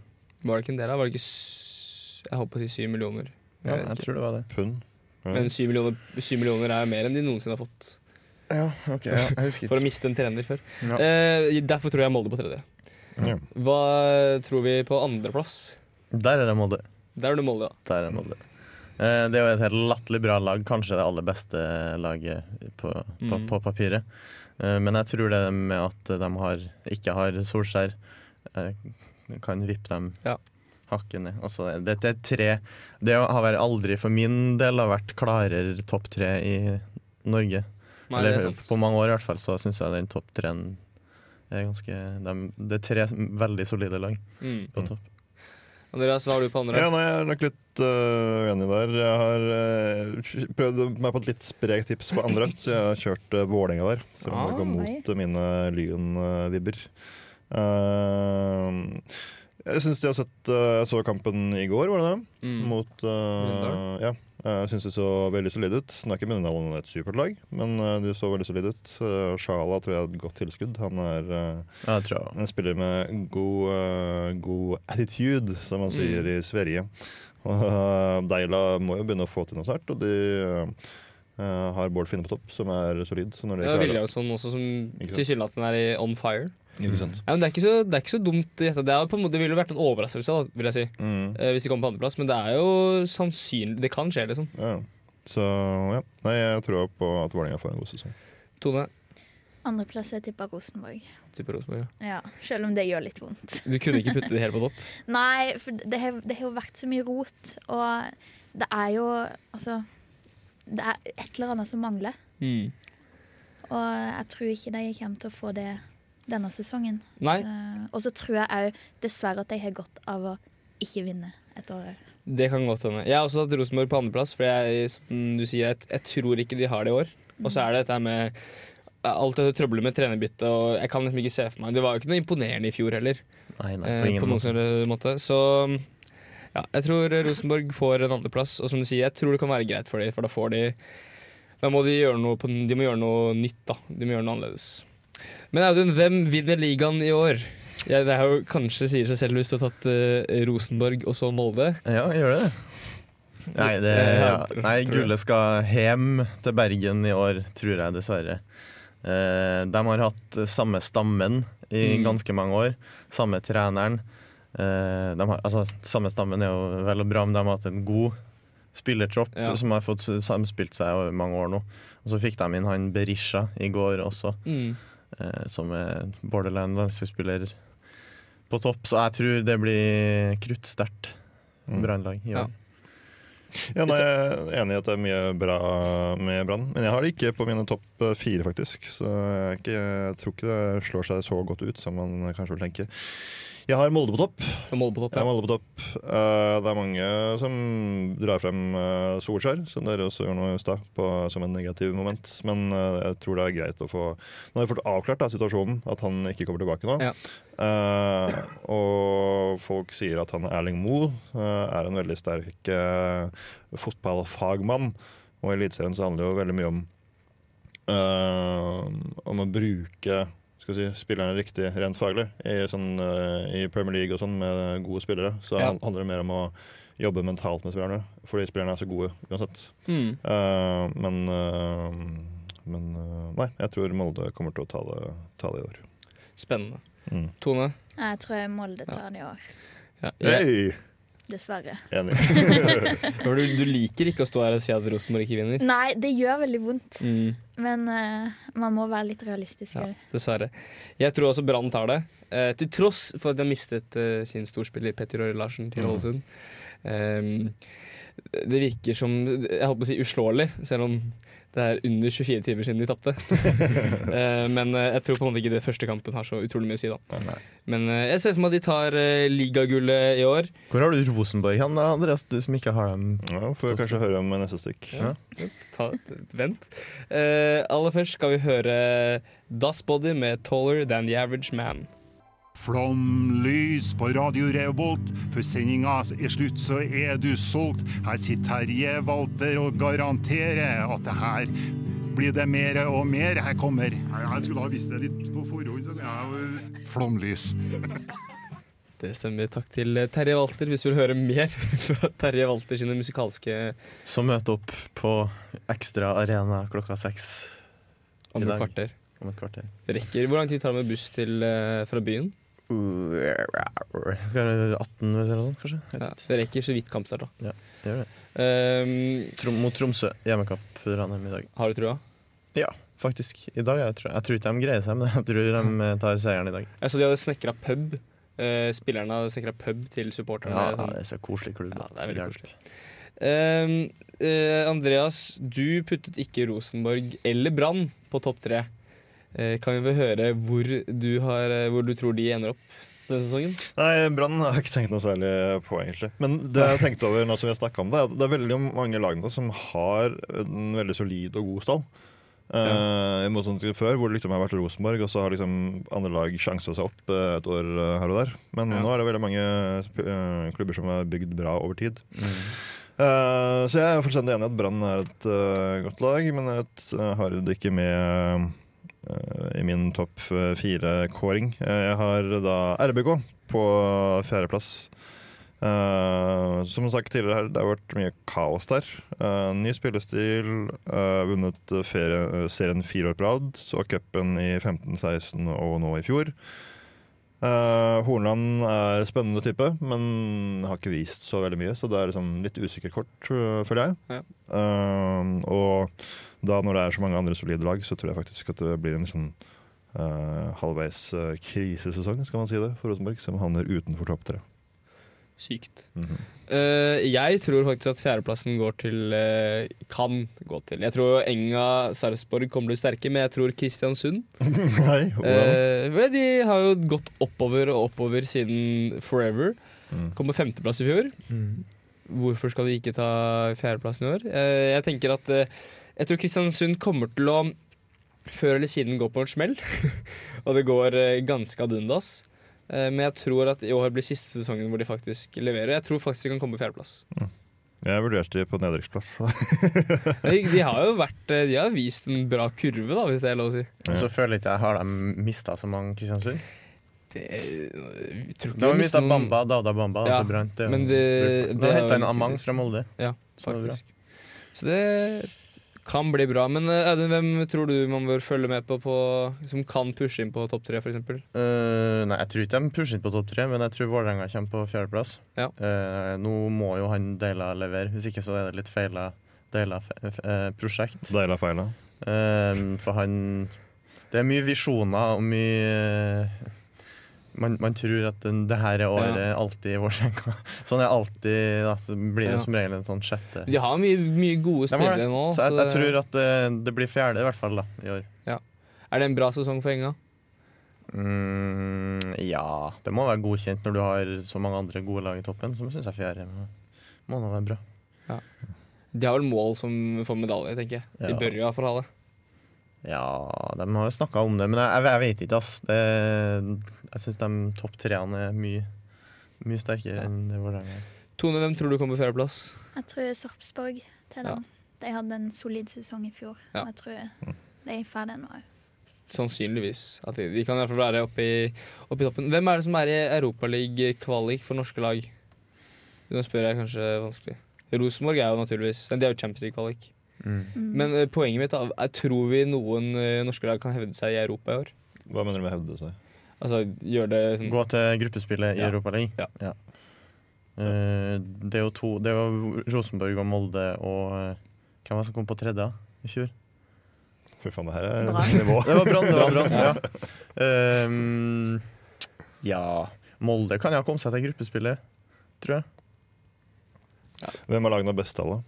S1: var det ikke en del av? Var det ikke s Jeg holdt på å si syv millioner.
S2: Ja,
S1: vet
S2: jeg
S1: ikke.
S2: tror det var det.
S3: Pund. Ja.
S1: Men syv millioner, syv millioner er jo mer enn de noensinne har fått.
S2: Ja, ok, ja, jeg husker ikke.
S1: For å miste en trener før.
S2: Ja.
S1: Eh, derfor tror jeg Molde på tredje.
S2: Ja.
S1: Hva tror vi på andreplass?
S2: Der er det Molde.
S1: Der er det Molde, ja.
S2: Der er Molde. Eh, Det er jo et helt latterlig bra lag, kanskje det aller beste laget på, på,
S1: Mm.
S2: på papiret. Eh, Men jeg tror det med at de har, ikke har Solskjær, eh, kan vippe dem hakket ned. Altså, dette er tre Det har vært aldri for min del har vært klarere topp tre i Norge.
S1: Nei, det er
S2: Eller
S1: sant.
S2: på mange år, i hvert fall, så syns jeg den topp treen er ganske de, Det er tre veldig solide lag
S1: Mm.
S2: på topp.
S1: Andreas, hva har du på andre?
S3: Ja, nei, jeg er nok litt øh, uenig der. Jeg har øh, prøvd meg på et litt sprekt tips på andre, så jeg har kjørt uh, Vålerenga der. Selv om
S1: Ah,
S3: det går mot mine Lyn-vibber. Eh, jeg syns de har sett øh, Jeg så kampen i går, var det det?
S1: Mm.
S3: Mot øh,
S1: Mjøndalen.
S3: Ja. Jeg syns de så veldig solide ut. Det er ikke Mjøndalen et supert lag, men øh, de så veldig solide ut. Uh, Sjala tror jeg er et godt tilskudd. Han er øh, en spiller med god, øh, god attitude, som man sier i Sverige. Og øh, Deila må jo begynne å få til noe snart, og de øh, har Bård Finne på topp, som er solid. Så når de
S1: Det er
S3: klarer-
S1: Williamson også, som
S3: Ikke sant.
S1: tilsynelatende er i on fire.
S3: Ikke sant.
S1: Ja, men det, er ikke så, det er ikke så dumt gjetta. Det, er jo på en måte- det ville jo vært en overraskelse da, vil jeg si.
S3: Mm.
S1: Eh, hvis de kommer på andreplass, men det er jo sannsynlig Det kan skje, liksom.
S3: Ja. Så ja, Nei, jeg tror på at Vålerenga får en god sesong.
S1: Tone,
S12: Andreplass jeg tipper Rosenborg.
S1: type Rosenborg. ja.
S12: Ja, Selv om det gjør litt vondt.
S1: Du kunne ikke putte det hele på topp.
S12: Nei, for det har, det har jo vært så mye rot, og det er jo Altså, det er et eller annet som mangler.
S1: Mm.
S12: Og jeg tror ikke de kommer til å få det denne sesongen.
S1: Nei.
S12: Eh, og så tror jeg òg dessverre at de har godt av å ikke vinne et år òg.
S1: Det kan godt hende. Jeg har også hatt Rosenborg på andreplass, for jeg, som du sier, jeg, jeg tror ikke de har det i år. Og så er det dette med alt dette trøbbelet med trenerbytte, og jeg kan liksom ikke se for meg Det var jo ikke noe imponerende i fjor heller.
S2: Nei, nei, på
S1: eh,
S2: ingen
S1: på noen
S2: måte.
S1: som helst måte. Så ja, Ja, jeg tror Rosenborg får en andreplass, og som du sier, jeg tror det kan være greit for dem, for da får de Da må de gjøre noe, på, den- de må gjøre noe nytt, da. De må gjøre noe annerledes. Men Audun, hvem vinner ligaen i år? Ja, det er jo kanskje sier seg selv hvis du har tatt eh, Rosenborg og så Molde.
S2: Ja, gjør det Nei, det, ja. Nei, gullet skal hjem til Bergen i år, tror jeg dessverre. Eh, de har hatt samme stammen i
S1: Mm.
S2: ganske mange år. Samme treneren. Eh, de har, altså, samme stammen er jo vel og bra, men de har hatt en god spillertropp
S1: Ja.
S2: som har fått samspilt seg over mange år nå. Og så fikk de inn han Berisha i går også,
S1: Mm.
S2: eh, som er borderline landslagsspiller på topp. Så jeg tror det blir kruttsterkt Brannlag. Ja.
S3: Mm. Ja, nei, jeg er enig i at det er mye bra med Brann, men jeg har det ikke på mine topp eh, fire, faktisk. Så jeg, er ikke, jeg tror ikke det slår seg så godt ut som man kanskje vil tenke. Jeg har Molde på topp. Jeg har Molde på topp. Eh, det er mange som drar frem eh, Solskjær, som dere også gjorde nå i stad, på- som en negativ moment. Men eh, jeg tror det er greit å få Nå har vi fått avklart da, situasjonen, at han ikke kommer tilbake nå. Eh, og folk sier at han Erling Moe eh, er en veldig sterk eh, fotballfagmann. Og i Eliteserien så handler det jo veldig mye om eh, om å bruke skal vi si, spillerne riktig rent faglig. I, sånn, eh, i Premier League og sånn med gode spillere så
S1: Ja.
S3: handler det mer om å jobbe mentalt med spillerne, fordi spillerne er så gode uansett.
S1: Mm.
S3: Eh, men eh, men eh, nei, jeg tror Molde kommer til å ta det, ta det i år.
S1: Spennende.
S3: Mm.
S1: Tone?
S12: Jeg tror Molde tar den i år.
S1: Ja,
S3: Hei!
S12: Dessverre.
S1: For du, du liker ikke å stå her og si at Rosenborg ikke vinner?
S12: Nei, det gjør veldig vondt.
S1: Mm.
S12: Men eh, man må være litt realistisk.
S1: Ja, dessverre. Jeg tror også Brann tar det. Eh, til tross for at de har mistet eh, sin storspiller Petter Øre Larsen til
S15: Mhm.
S1: Ålesund. Ehm, det virker som jeg holdt på å si uslåelig, selv om det er under 24 timer siden de tapte. Eh, men eh, jeg tror på en måte ikke det første kampen har så utrolig mye å si, da. Men eh, jeg ser for meg at de tar eh, ligagullet i år.
S2: Hvor har du Rosenborg hen, da, Andreas, du som ikke har dem?
S3: Ja, Får vi kanskje høre om neste stikk.
S1: Ja. Ta, vent. Eh, aller først skal vi høre Das Body med 'Taller Than The Average Man'.
S15: Flomlys på Radio Revolt, for sendinga er slutt, så er du solgt. Her sitter Terje Walter og garanterer at det her blir det mer og mer. Her kommer Jeg skulle ha visst det litt på forhånd. så jeg- Flomlys.
S1: Det stemmer. Takk til eh, Terje Walter. Hvis du vil høre mer fra Terje Walter sine musikalske
S2: Så møt opp på Ekstra Arena klokka seks
S1: Om
S2: i
S1: et
S2: dag.
S1: kvarter.
S2: Om et kvarter.
S1: rekker Hvor lang tid tar det med buss til, eh, fra byen?
S2: Skal det 18 eller noe sånt, kanskje?
S1: Ja, det rekker så vidt kampstart, da. Ehm,
S2: Ja, det gjør det. Trom mot Tromsø. Hjemmekamp for Ranheim i dag.
S1: Har du trua?
S2: Ja, faktisk. I dag, jeg tror, jeg tror ikke de greier seg, men jeg tror de eh, tar seieren i dag.
S1: Jeg så de hadde snekra pub. Eh, spillerne hadde snekra pub til supporterne.
S2: Ja,
S1: Sånn-
S2: ja, det er så koselig klubb.
S1: Ja,
S2: da.
S1: det er veldig
S2: Hjelp.
S1: koselig. Ehm, eh, Andreas, du puttet ikke Rosenborg eller Brann på topp tre. Eh, kan vi få høre hvor du, har, eh, hvor du tror de ender opp denne sesongen?
S3: Nei, Brann har jeg ikke tenkt noe særlig på, egentlig. Men det jeg tenkte over nå som vi har snakket om det, er at det er veldig mange lag nå som har en veldig solid og god stall. Eh, I motsetning til før, hvor det liksom har vært Rosenborg, og så har liksom andre lag sjansa seg opp eh, et år eh, her og der. Men nå er det veldig mange sp- eh, klubber som er bygd bra over tid. Eh, så jeg er fullstendig enig i at Brann er et eh, godt lag, men jeg t- har det ikke med eh, i min topp eh, fire-kåring. Eh, jeg har da RBK på fjerdeplass. Eh, som sagt tidligere her, det har vært mye kaos der. Eh, ny spillestil, eh, vunnet ferie, eh, serien fire år på rad, så cupen i 15, 16 og nå i fjor. Eh, Hornland er spennende type, men har ikke vist så veldig mye, så det er liksom litt usikkert kort, eh, føler jeg. Eh, og da når det er så mange andre solide lag, så tror jeg faktisk at det blir en sånn eh, halvveis eh, krisesesong, skal man si det, for Rosenborg, som havner utenfor topp tre.
S1: Sykt.
S3: Mhm.
S1: Eh, jeg tror faktisk at fjerdeplassen går til eh, kan gå til. Jeg tror Enga Sarpsborg kommer til å bli sterke, men jeg tror Kristiansund
S3: Nei, hvordan?
S1: Eh, vel, de har jo gått oppover og oppover siden Forever.
S3: Mm.
S1: Kom på femteplass i fjor.
S2: Mm.
S1: Hvorfor skal de ikke ta fjerdeplassen i år? Eh, jeg tenker at eh, Jeg tror Kristiansund kommer til å før eller siden gå på en smell. og det går eh, ganske ad undas. Eh, Men jeg tror at i år blir siste sesongen hvor de faktisk leverer. Jeg tror faktisk de kan komme på fjerdeplass.
S3: Jeg vurderte på nedrykksplass.
S1: De de har jo vært eh, De har vist en bra kurve, da, hvis det er lov å si.
S2: Og så føler jeg ikke jeg har de mista så mange Kristiansund.
S1: tror ikke
S2: de
S1: vi
S2: har
S1: har
S2: mista
S1: mistet noen-
S2: Bamba, Dauda Bamba.
S1: Ja,
S2: til Brann, til-
S1: men det-
S2: Nå
S1: det har
S2: henta en
S1: vi
S2: Amang
S1: faktisk-
S2: fra Molde.
S1: Ja,
S2: Så det er bra.
S1: faktisk. Så det kan bli bra. Men eh, Audun, hvem tror du man bør følge med på, på som kan pushe inn på topp tre, f.eks.?
S2: Eh, nei, jeg tror ikke de pusher inn på topp tre, men jeg tror Vålerenga kommer på fjerdeplass. Eh, nå må jo han Deila levere, hvis ikke så er det litt feila Deila fe- f- eh, prosjekt.
S3: Deila feila.
S2: Eh, for han Det er mye visjoner og mye eh, man, man tror at den, det her er året
S1: Ja.
S2: alltid Vålerenga. Sånn er alltid da, så blir det
S1: Ja.
S2: som regel en sånn sjette.
S1: De har mye, mye gode
S2: De har
S1: spillere
S2: det.
S1: nå.
S2: Så jeg, jeg
S1: det-
S2: tror at det, det blir fjerde, i hvert fall, da, i år.
S1: ja. Er det en bra sesong for Enga?
S2: Mm, ja, det må være godkjent når du har så mange andre gode lag i toppen. Så syns jeg fjerde må, må nå være bra.
S1: De har vel mål som for medalje, tenker jeg. De
S2: Ja.
S1: bør jo iallfall ha det.
S2: Ja, de har jo snakka om det, men jeg, jeg, jeg vet ikke, ass. Det, jeg syns de topp treene er mye, mye sterkere enn Vålerenga. er.
S1: Tone, hvem tror du kommer på fjerdeplass?
S12: Jeg tror Sarpsborg til den. De hadde en solid sesong i fjor.
S1: Ja.
S12: og Jeg tror de er ferdige nå.
S1: Sannsynligvis. At de, de kan i hvert fall være oppe i, oppe i toppen. Hvem er det som er i Europaliga-kvalik for norske lag? Nå spør jeg kanskje vanskelig. Rosenborg er jo naturligvis De er jo Champions League-kvalik.
S2: Mm.
S12: Mm.
S1: Men eh, poenget mitt er, er tror vi noen eh, norske lag kan hevde seg i Europa i år?
S3: Hva mener du med hevde seg?
S1: Altså gjør det sånn
S2: Gå til gruppespillet i
S1: Ja.
S2: Europaligaen.
S1: Ja.
S2: Ja. Eh, det er jo to Det var Rosenborg og Molde og eh, Hvem var det som kom på tredje da, i fjor?
S3: Fy faen, det her er
S2: Brann.
S3: nivå.
S2: Det var Brann, det var
S3: Brann,
S2: Brann. Ja. Ehm, ja Molde kan jo ha kommet seg til gruppespillet, tror jeg.
S3: Hvem har lagd noe best av det?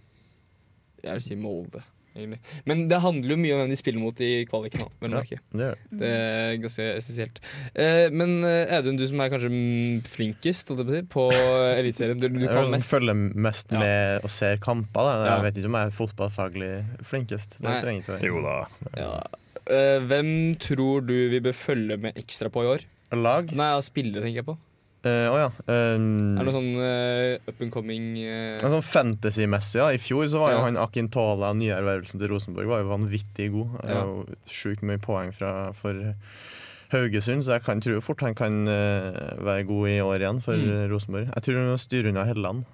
S1: Jeg vil si Molde, egentlig. Men det handler jo mye om hvem de spiller mot i kvaliken. da, vel å
S2: Ja,
S1: merke.
S2: det gjør
S1: det er ganske essensielt. Eh, men eh, Audun, du som er kanskje mm, flinkest holdt jeg på, å si, på eh, Eliteserien du, du
S2: jeg
S1: kan
S2: kan
S1: mest.
S2: sånn følger mest med og ser kamper. Da. Jeg
S1: Ja.
S2: vet ikke om jeg er fotballfaglig flinkest. Det
S1: Nei.
S2: trenger ikke være.
S1: Jo da. Eh, hvem tror du vi bør følge med ekstra på i år?
S2: Lag?
S1: Nei, av spillere, tenker jeg på.
S2: Eh, å ja. ehm,
S1: Er det noe sånn eh, up and coming eh,
S2: Men sånn fantasy-messig, da. I fjor så var jo
S1: Ja.
S2: han Akintola, nyervervelsen til Rosenborg, var jo vanvittig god. Det
S1: Ja.
S2: var jo Sjukt mye poeng fra, for Haugesund, så jeg kan tro fort han kan eh, være god i år igjen for
S1: Mm.
S2: eh, Rosenborg. Jeg tror han styrer unna Helland.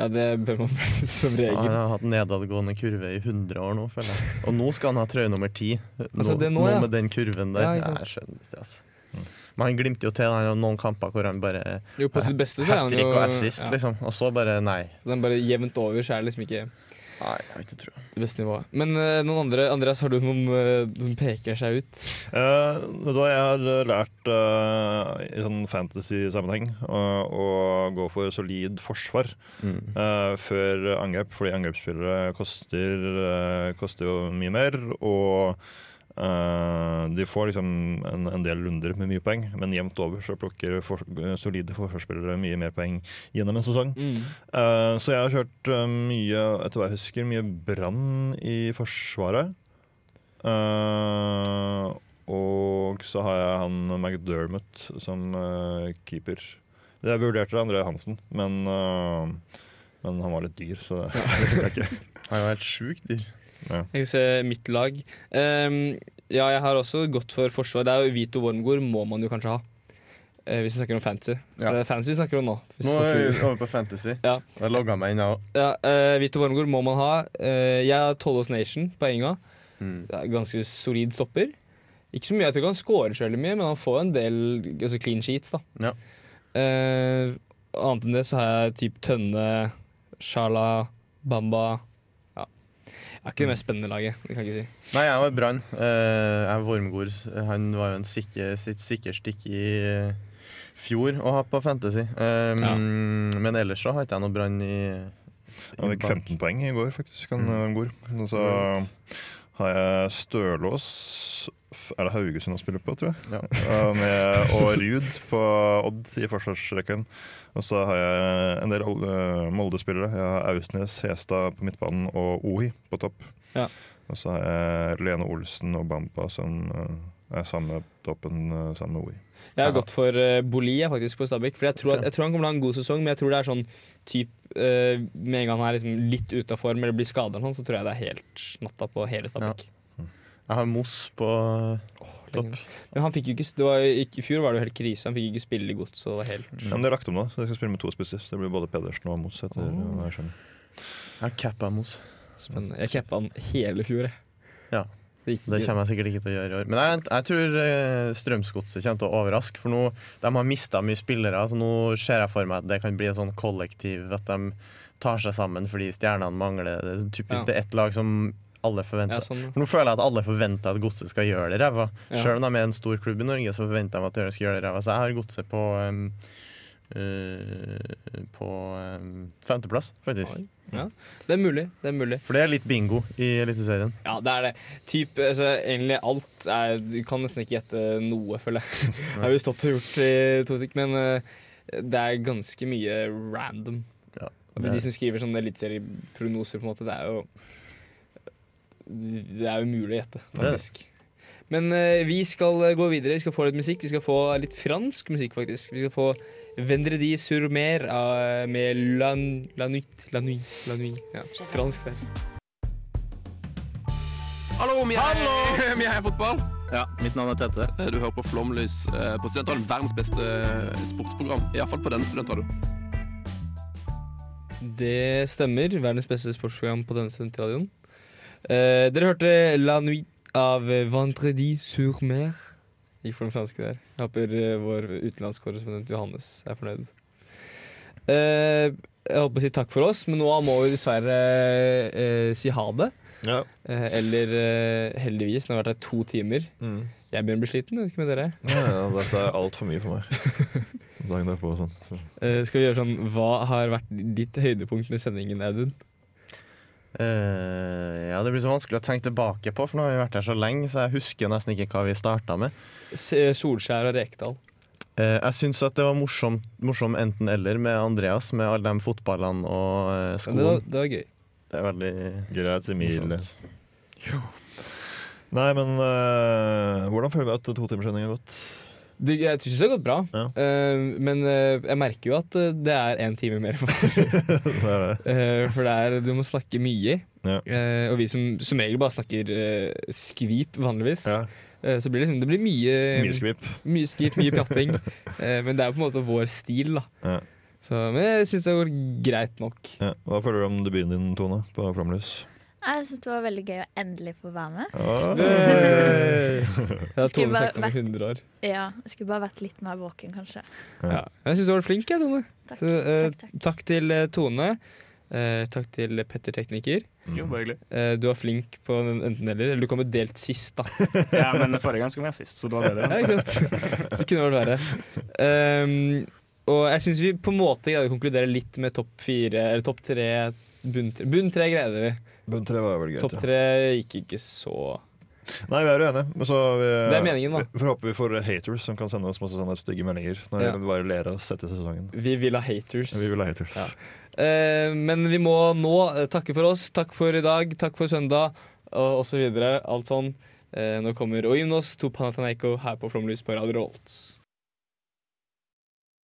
S1: Ja, det bør man som regel.
S2: Han har hatt nedadgående kurve i 100 år nå, føler jeg. Og nå skal han ha trøye nummer 10. Nå,
S1: Altså, det nå,
S2: nå
S1: ja.
S2: med den kurven der.
S1: Ja, ikke
S2: Ja,
S1: sant.
S2: jeg skjønner ikke, altså. Men han glimter jo til han har noen kamper hvor han bare
S1: Jo, på sitt beste så er han
S2: Hattrick
S1: jo-
S2: og assist,
S1: ja.
S2: liksom. Og så bare nei.
S1: Den bare jevnt over, så er det liksom ikke
S2: Nei, jeg har ikke tro.
S1: det beste nivået. Men eh, noen andre, Andreas, har du noen eh, som peker seg ut?
S3: Eh, vet du hva, jeg har eh, lært eh, i sånn fantasy-sammenheng eh, å gå for solid forsvar
S2: Mm.
S3: eh, før angrep, fordi angrepsspillere koster, eh, koster jo mye mer. Og eh, de får liksom en, en del runder med mye poeng, men jevnt over så plukker for, solide forsvarsspillere mye mer poeng gjennom en sesong. Eh, så jeg har kjørt eh, mye, etter hva jeg husker, mye brann i forsvaret. Eh, og så har jeg han McDermott som eh, keeper. Jeg vurderte André Hansen, men, eh, men han var litt dyr, så det fikk jeg ikke.
S2: Han var helt sjukt dyr.
S3: Ja.
S1: Jeg skal se mitt lag. Ehm, ja, jeg har også gått for forsvar. Det er jo Vito Wormgård må man jo kanskje ha. Eh, hvis vi snakker om fancy. For Det er fancy vi snakker om nå. Hvis
S2: Nå
S1: folk
S2: er vi
S1: lurer.
S2: over på fantasy. Jeg logga meg inn, jeg òg.
S1: Ja, eh, Vito Wormgård må man ha. Eh, jeg har Tollås Nation på enga.
S2: Mm.
S1: Det er Ganske solid stopper. Ikke så mye, jeg tror ikke han scorer så veldig mye, men han får en del altså clean sheets. da.
S2: Ja.
S1: Eh, annet enn det så har jeg typ Tønne, Shala, Bamba Ja. Jeg er ikke det mest spennende laget, det kan jeg ikke si.
S2: Nei, jeg var Brann. Eh, jeg er Wormgård. Han var jo en sikker, sitt sikre stikk i eh, fjor å ha på Fantasy. Eh, Men ellers så har ikke jeg noe Brann i, i
S3: Han fikk
S2: bank.
S3: 15 poeng i går, faktisk. Han mm. går. Og så har jeg Stølås f- Er det Haugesund han spiller på, tror jeg? Eh, Med, og Ruud på Odd i forsvarsrekken. Og så har jeg en del eh, Molde-spillere. Jeg har Ausnes, Hestad på midtbanen og Ohi på topp.
S1: Ja.
S3: Og så har jeg Lene Olsen og Bampa som eh,
S17: Eh, Samme toppen, eh, samme ord.
S1: Jeg har gått for uh, Boli jeg, faktisk på Stabæk. For jeg tror, at, jeg tror han kommer til å ha en god sesong, men jeg tror det er sånn typ, eh, Med en gang han er liksom litt ute av form eller blir skada, sånn, så tror jeg det er helt natta på hele Stabæk.
S2: Jeg har Moss på
S1: topp. Men han fikk jo ikke, det var, jo ikke- I fjor var det jo helt krise. Han fikk ikke spille i gods. Og det var helt
S2: Mm.
S17: Ja, men det er lagt om nå, så jeg skal spille med to spisser. Så det blir både Pedersen og Moss. etter hva jeg skjønner.
S2: Jeg cappa Moss.
S1: Spennende. Jeg cappa han hele fjor, jeg.
S2: Ja.
S1: Det,
S2: kommer jeg sikkert ikke til å gjøre i år. Men jeg, jeg tror eh, Strømsgodset kommer til å overraske. For nå de har mista mye spillere, så nå ser jeg for meg at det kan bli en sånn kollektiv at de tar seg sammen fordi stjernene mangler. Det er typisk
S17: Ja.
S2: det er ett lag som alle
S17: Ja,
S2: forventer.
S17: sånn, ja.
S2: For nå føler jeg at alle forventer at Godset skal gjøre det ræva.
S17: Ja.
S2: Selv om de er en stor klubb i Norge, så forventer de at de skal gjøre det ræva. Så jeg har Godset på em, eh, på em, femteplass, faktisk.
S1: Ja. Det er mulig. Det er mulig.
S2: For det er litt bingo i Eliteserien.
S1: Ja, det er det. Typ, altså, egentlig alt er, Du kan nesten ikke gjette noe, føler jeg. Det har vi stått og gjort i to stikk, men eh, det er ganske mye random. Og
S2: det er-
S1: De som skriver sånne eliteserieprognoser, på en måte, det er jo Det er umulig å gjette,
S2: Det er det.
S1: faktisk. Men eh, vi skal eh, gå videre. Vi skal få litt musikk. Vi skal få litt fransk musikk, faktisk. Vi skal få Vendredi sur mer av- med La, la nuit La nuit. La nuit. Ja, fransk der.
S10: Hallo, vi er,
S18: Hallo!
S10: vi er fotball. Ja, mitt navn er Tete. Du hører på Flomlys eh, på Studentradioen. Verdens beste eh, sportsprogram. Iallfall på denne studentradioen.
S1: Det stemmer. Verdens beste sportsprogram på denne studentradioen. Eh, dere hørte La Nuit av Vendredi sur mer. Gikk for den franske der. Jeg håper eh, vår utenlandskorrespondent Johannes er fornøyd. Eh, jeg holdt på å si takk for oss, men nå må vi dessverre eh, si ha det. Eh, eller eh, heldigvis. Nå har vi vært her to timer.
S17: Mm.
S1: Jeg begynner å bli sliten. jeg Vet ikke med dere.
S17: Ja, ja, dette er altfor mye for meg. Dagen derpå og sånn. Så.
S1: Eh, skal vi gjøre sånn Hva har vært ditt høydepunkt med sendingen, Audun?
S2: Eh, ja, det blir så vanskelig å tenke tilbake på, for nå har vi vært her så lenge, så jeg husker nesten ikke hva vi starta med.
S1: Se- Solskjær og Rekdal.
S2: Eh, jeg syns at det var morsom, morsom enten-eller med Andreas, med alle de fotballene og eh,
S1: Ja, det, var,
S2: skoen.
S1: det var gøy.
S2: Det er veldig
S17: Grazie mille. Nei, men eh, hvordan føler vi at to timers sending har gått?
S1: Det, jeg syns det har gått bra, Eh, men eh, jeg merker jo at eh, det er én time mer. For, Eh, for det er, du må snakke mye. Eh, og vi som som regel bare snakker eh, skvip vanligvis, eh, så blir det, liksom, det blir mye
S17: Mye skvip.
S1: Mye skvip, mye pjatting. Eh, men det er jo på en måte vår stil, da.
S17: Ja.
S1: Så, men jeg syns det går greit nok.
S17: Ja. Hva føler du om debuten din, Tone, på Flomlys?
S12: Jeg syns det var veldig gøy å endelig få være med.
S17: Ah.
S1: Hey! Det har
S12: Skulle
S1: Tone
S12: bare
S1: sagt om
S12: vært-
S1: 100 år.
S12: Ja, jeg skulle bare vært litt mer våken, kanskje.
S1: Ja. Jeg syns du var flink, jeg, Tone. Takk, så, eh, takk, til eh, Tone. Eh, takk til Petter Tekniker.
S6: Jo, bare hyggelig.
S1: Eh, du var flink på den enten-eller. Eller du kom jo delt sist, da.
S6: Ja, men forrige gang skulle vi være sist, så det var bedre.
S1: Ja, ikke sant? Så det kunne vært verre. Um, og jeg syns vi på en måte greide å konkludere litt med topp fire, eller topp tre Bunn tre, bunn tre greide vi.
S17: Bunn tre var vel greit,
S1: Topp
S17: ja.
S1: tre gikk ikke så
S17: Nei, vi er uenige. Men så vi, eh,
S1: Det er meningen, da.
S17: vi- For håper vi får haters som kan sende oss masse sånne stygge meldinger. Når
S1: Ja.
S17: vi bare ler av oss etter sesongen.
S1: Vi vil ha haters.
S17: Vi vil ha haters.
S1: Ja. Eh, men vi må nå eh, takke for oss. Takk for i dag, takk for søndag, og, og så videre. Alt sånn. Eh, nå kommer Oymnos to Panathanaiko her på Flomlys på Radio Rolts.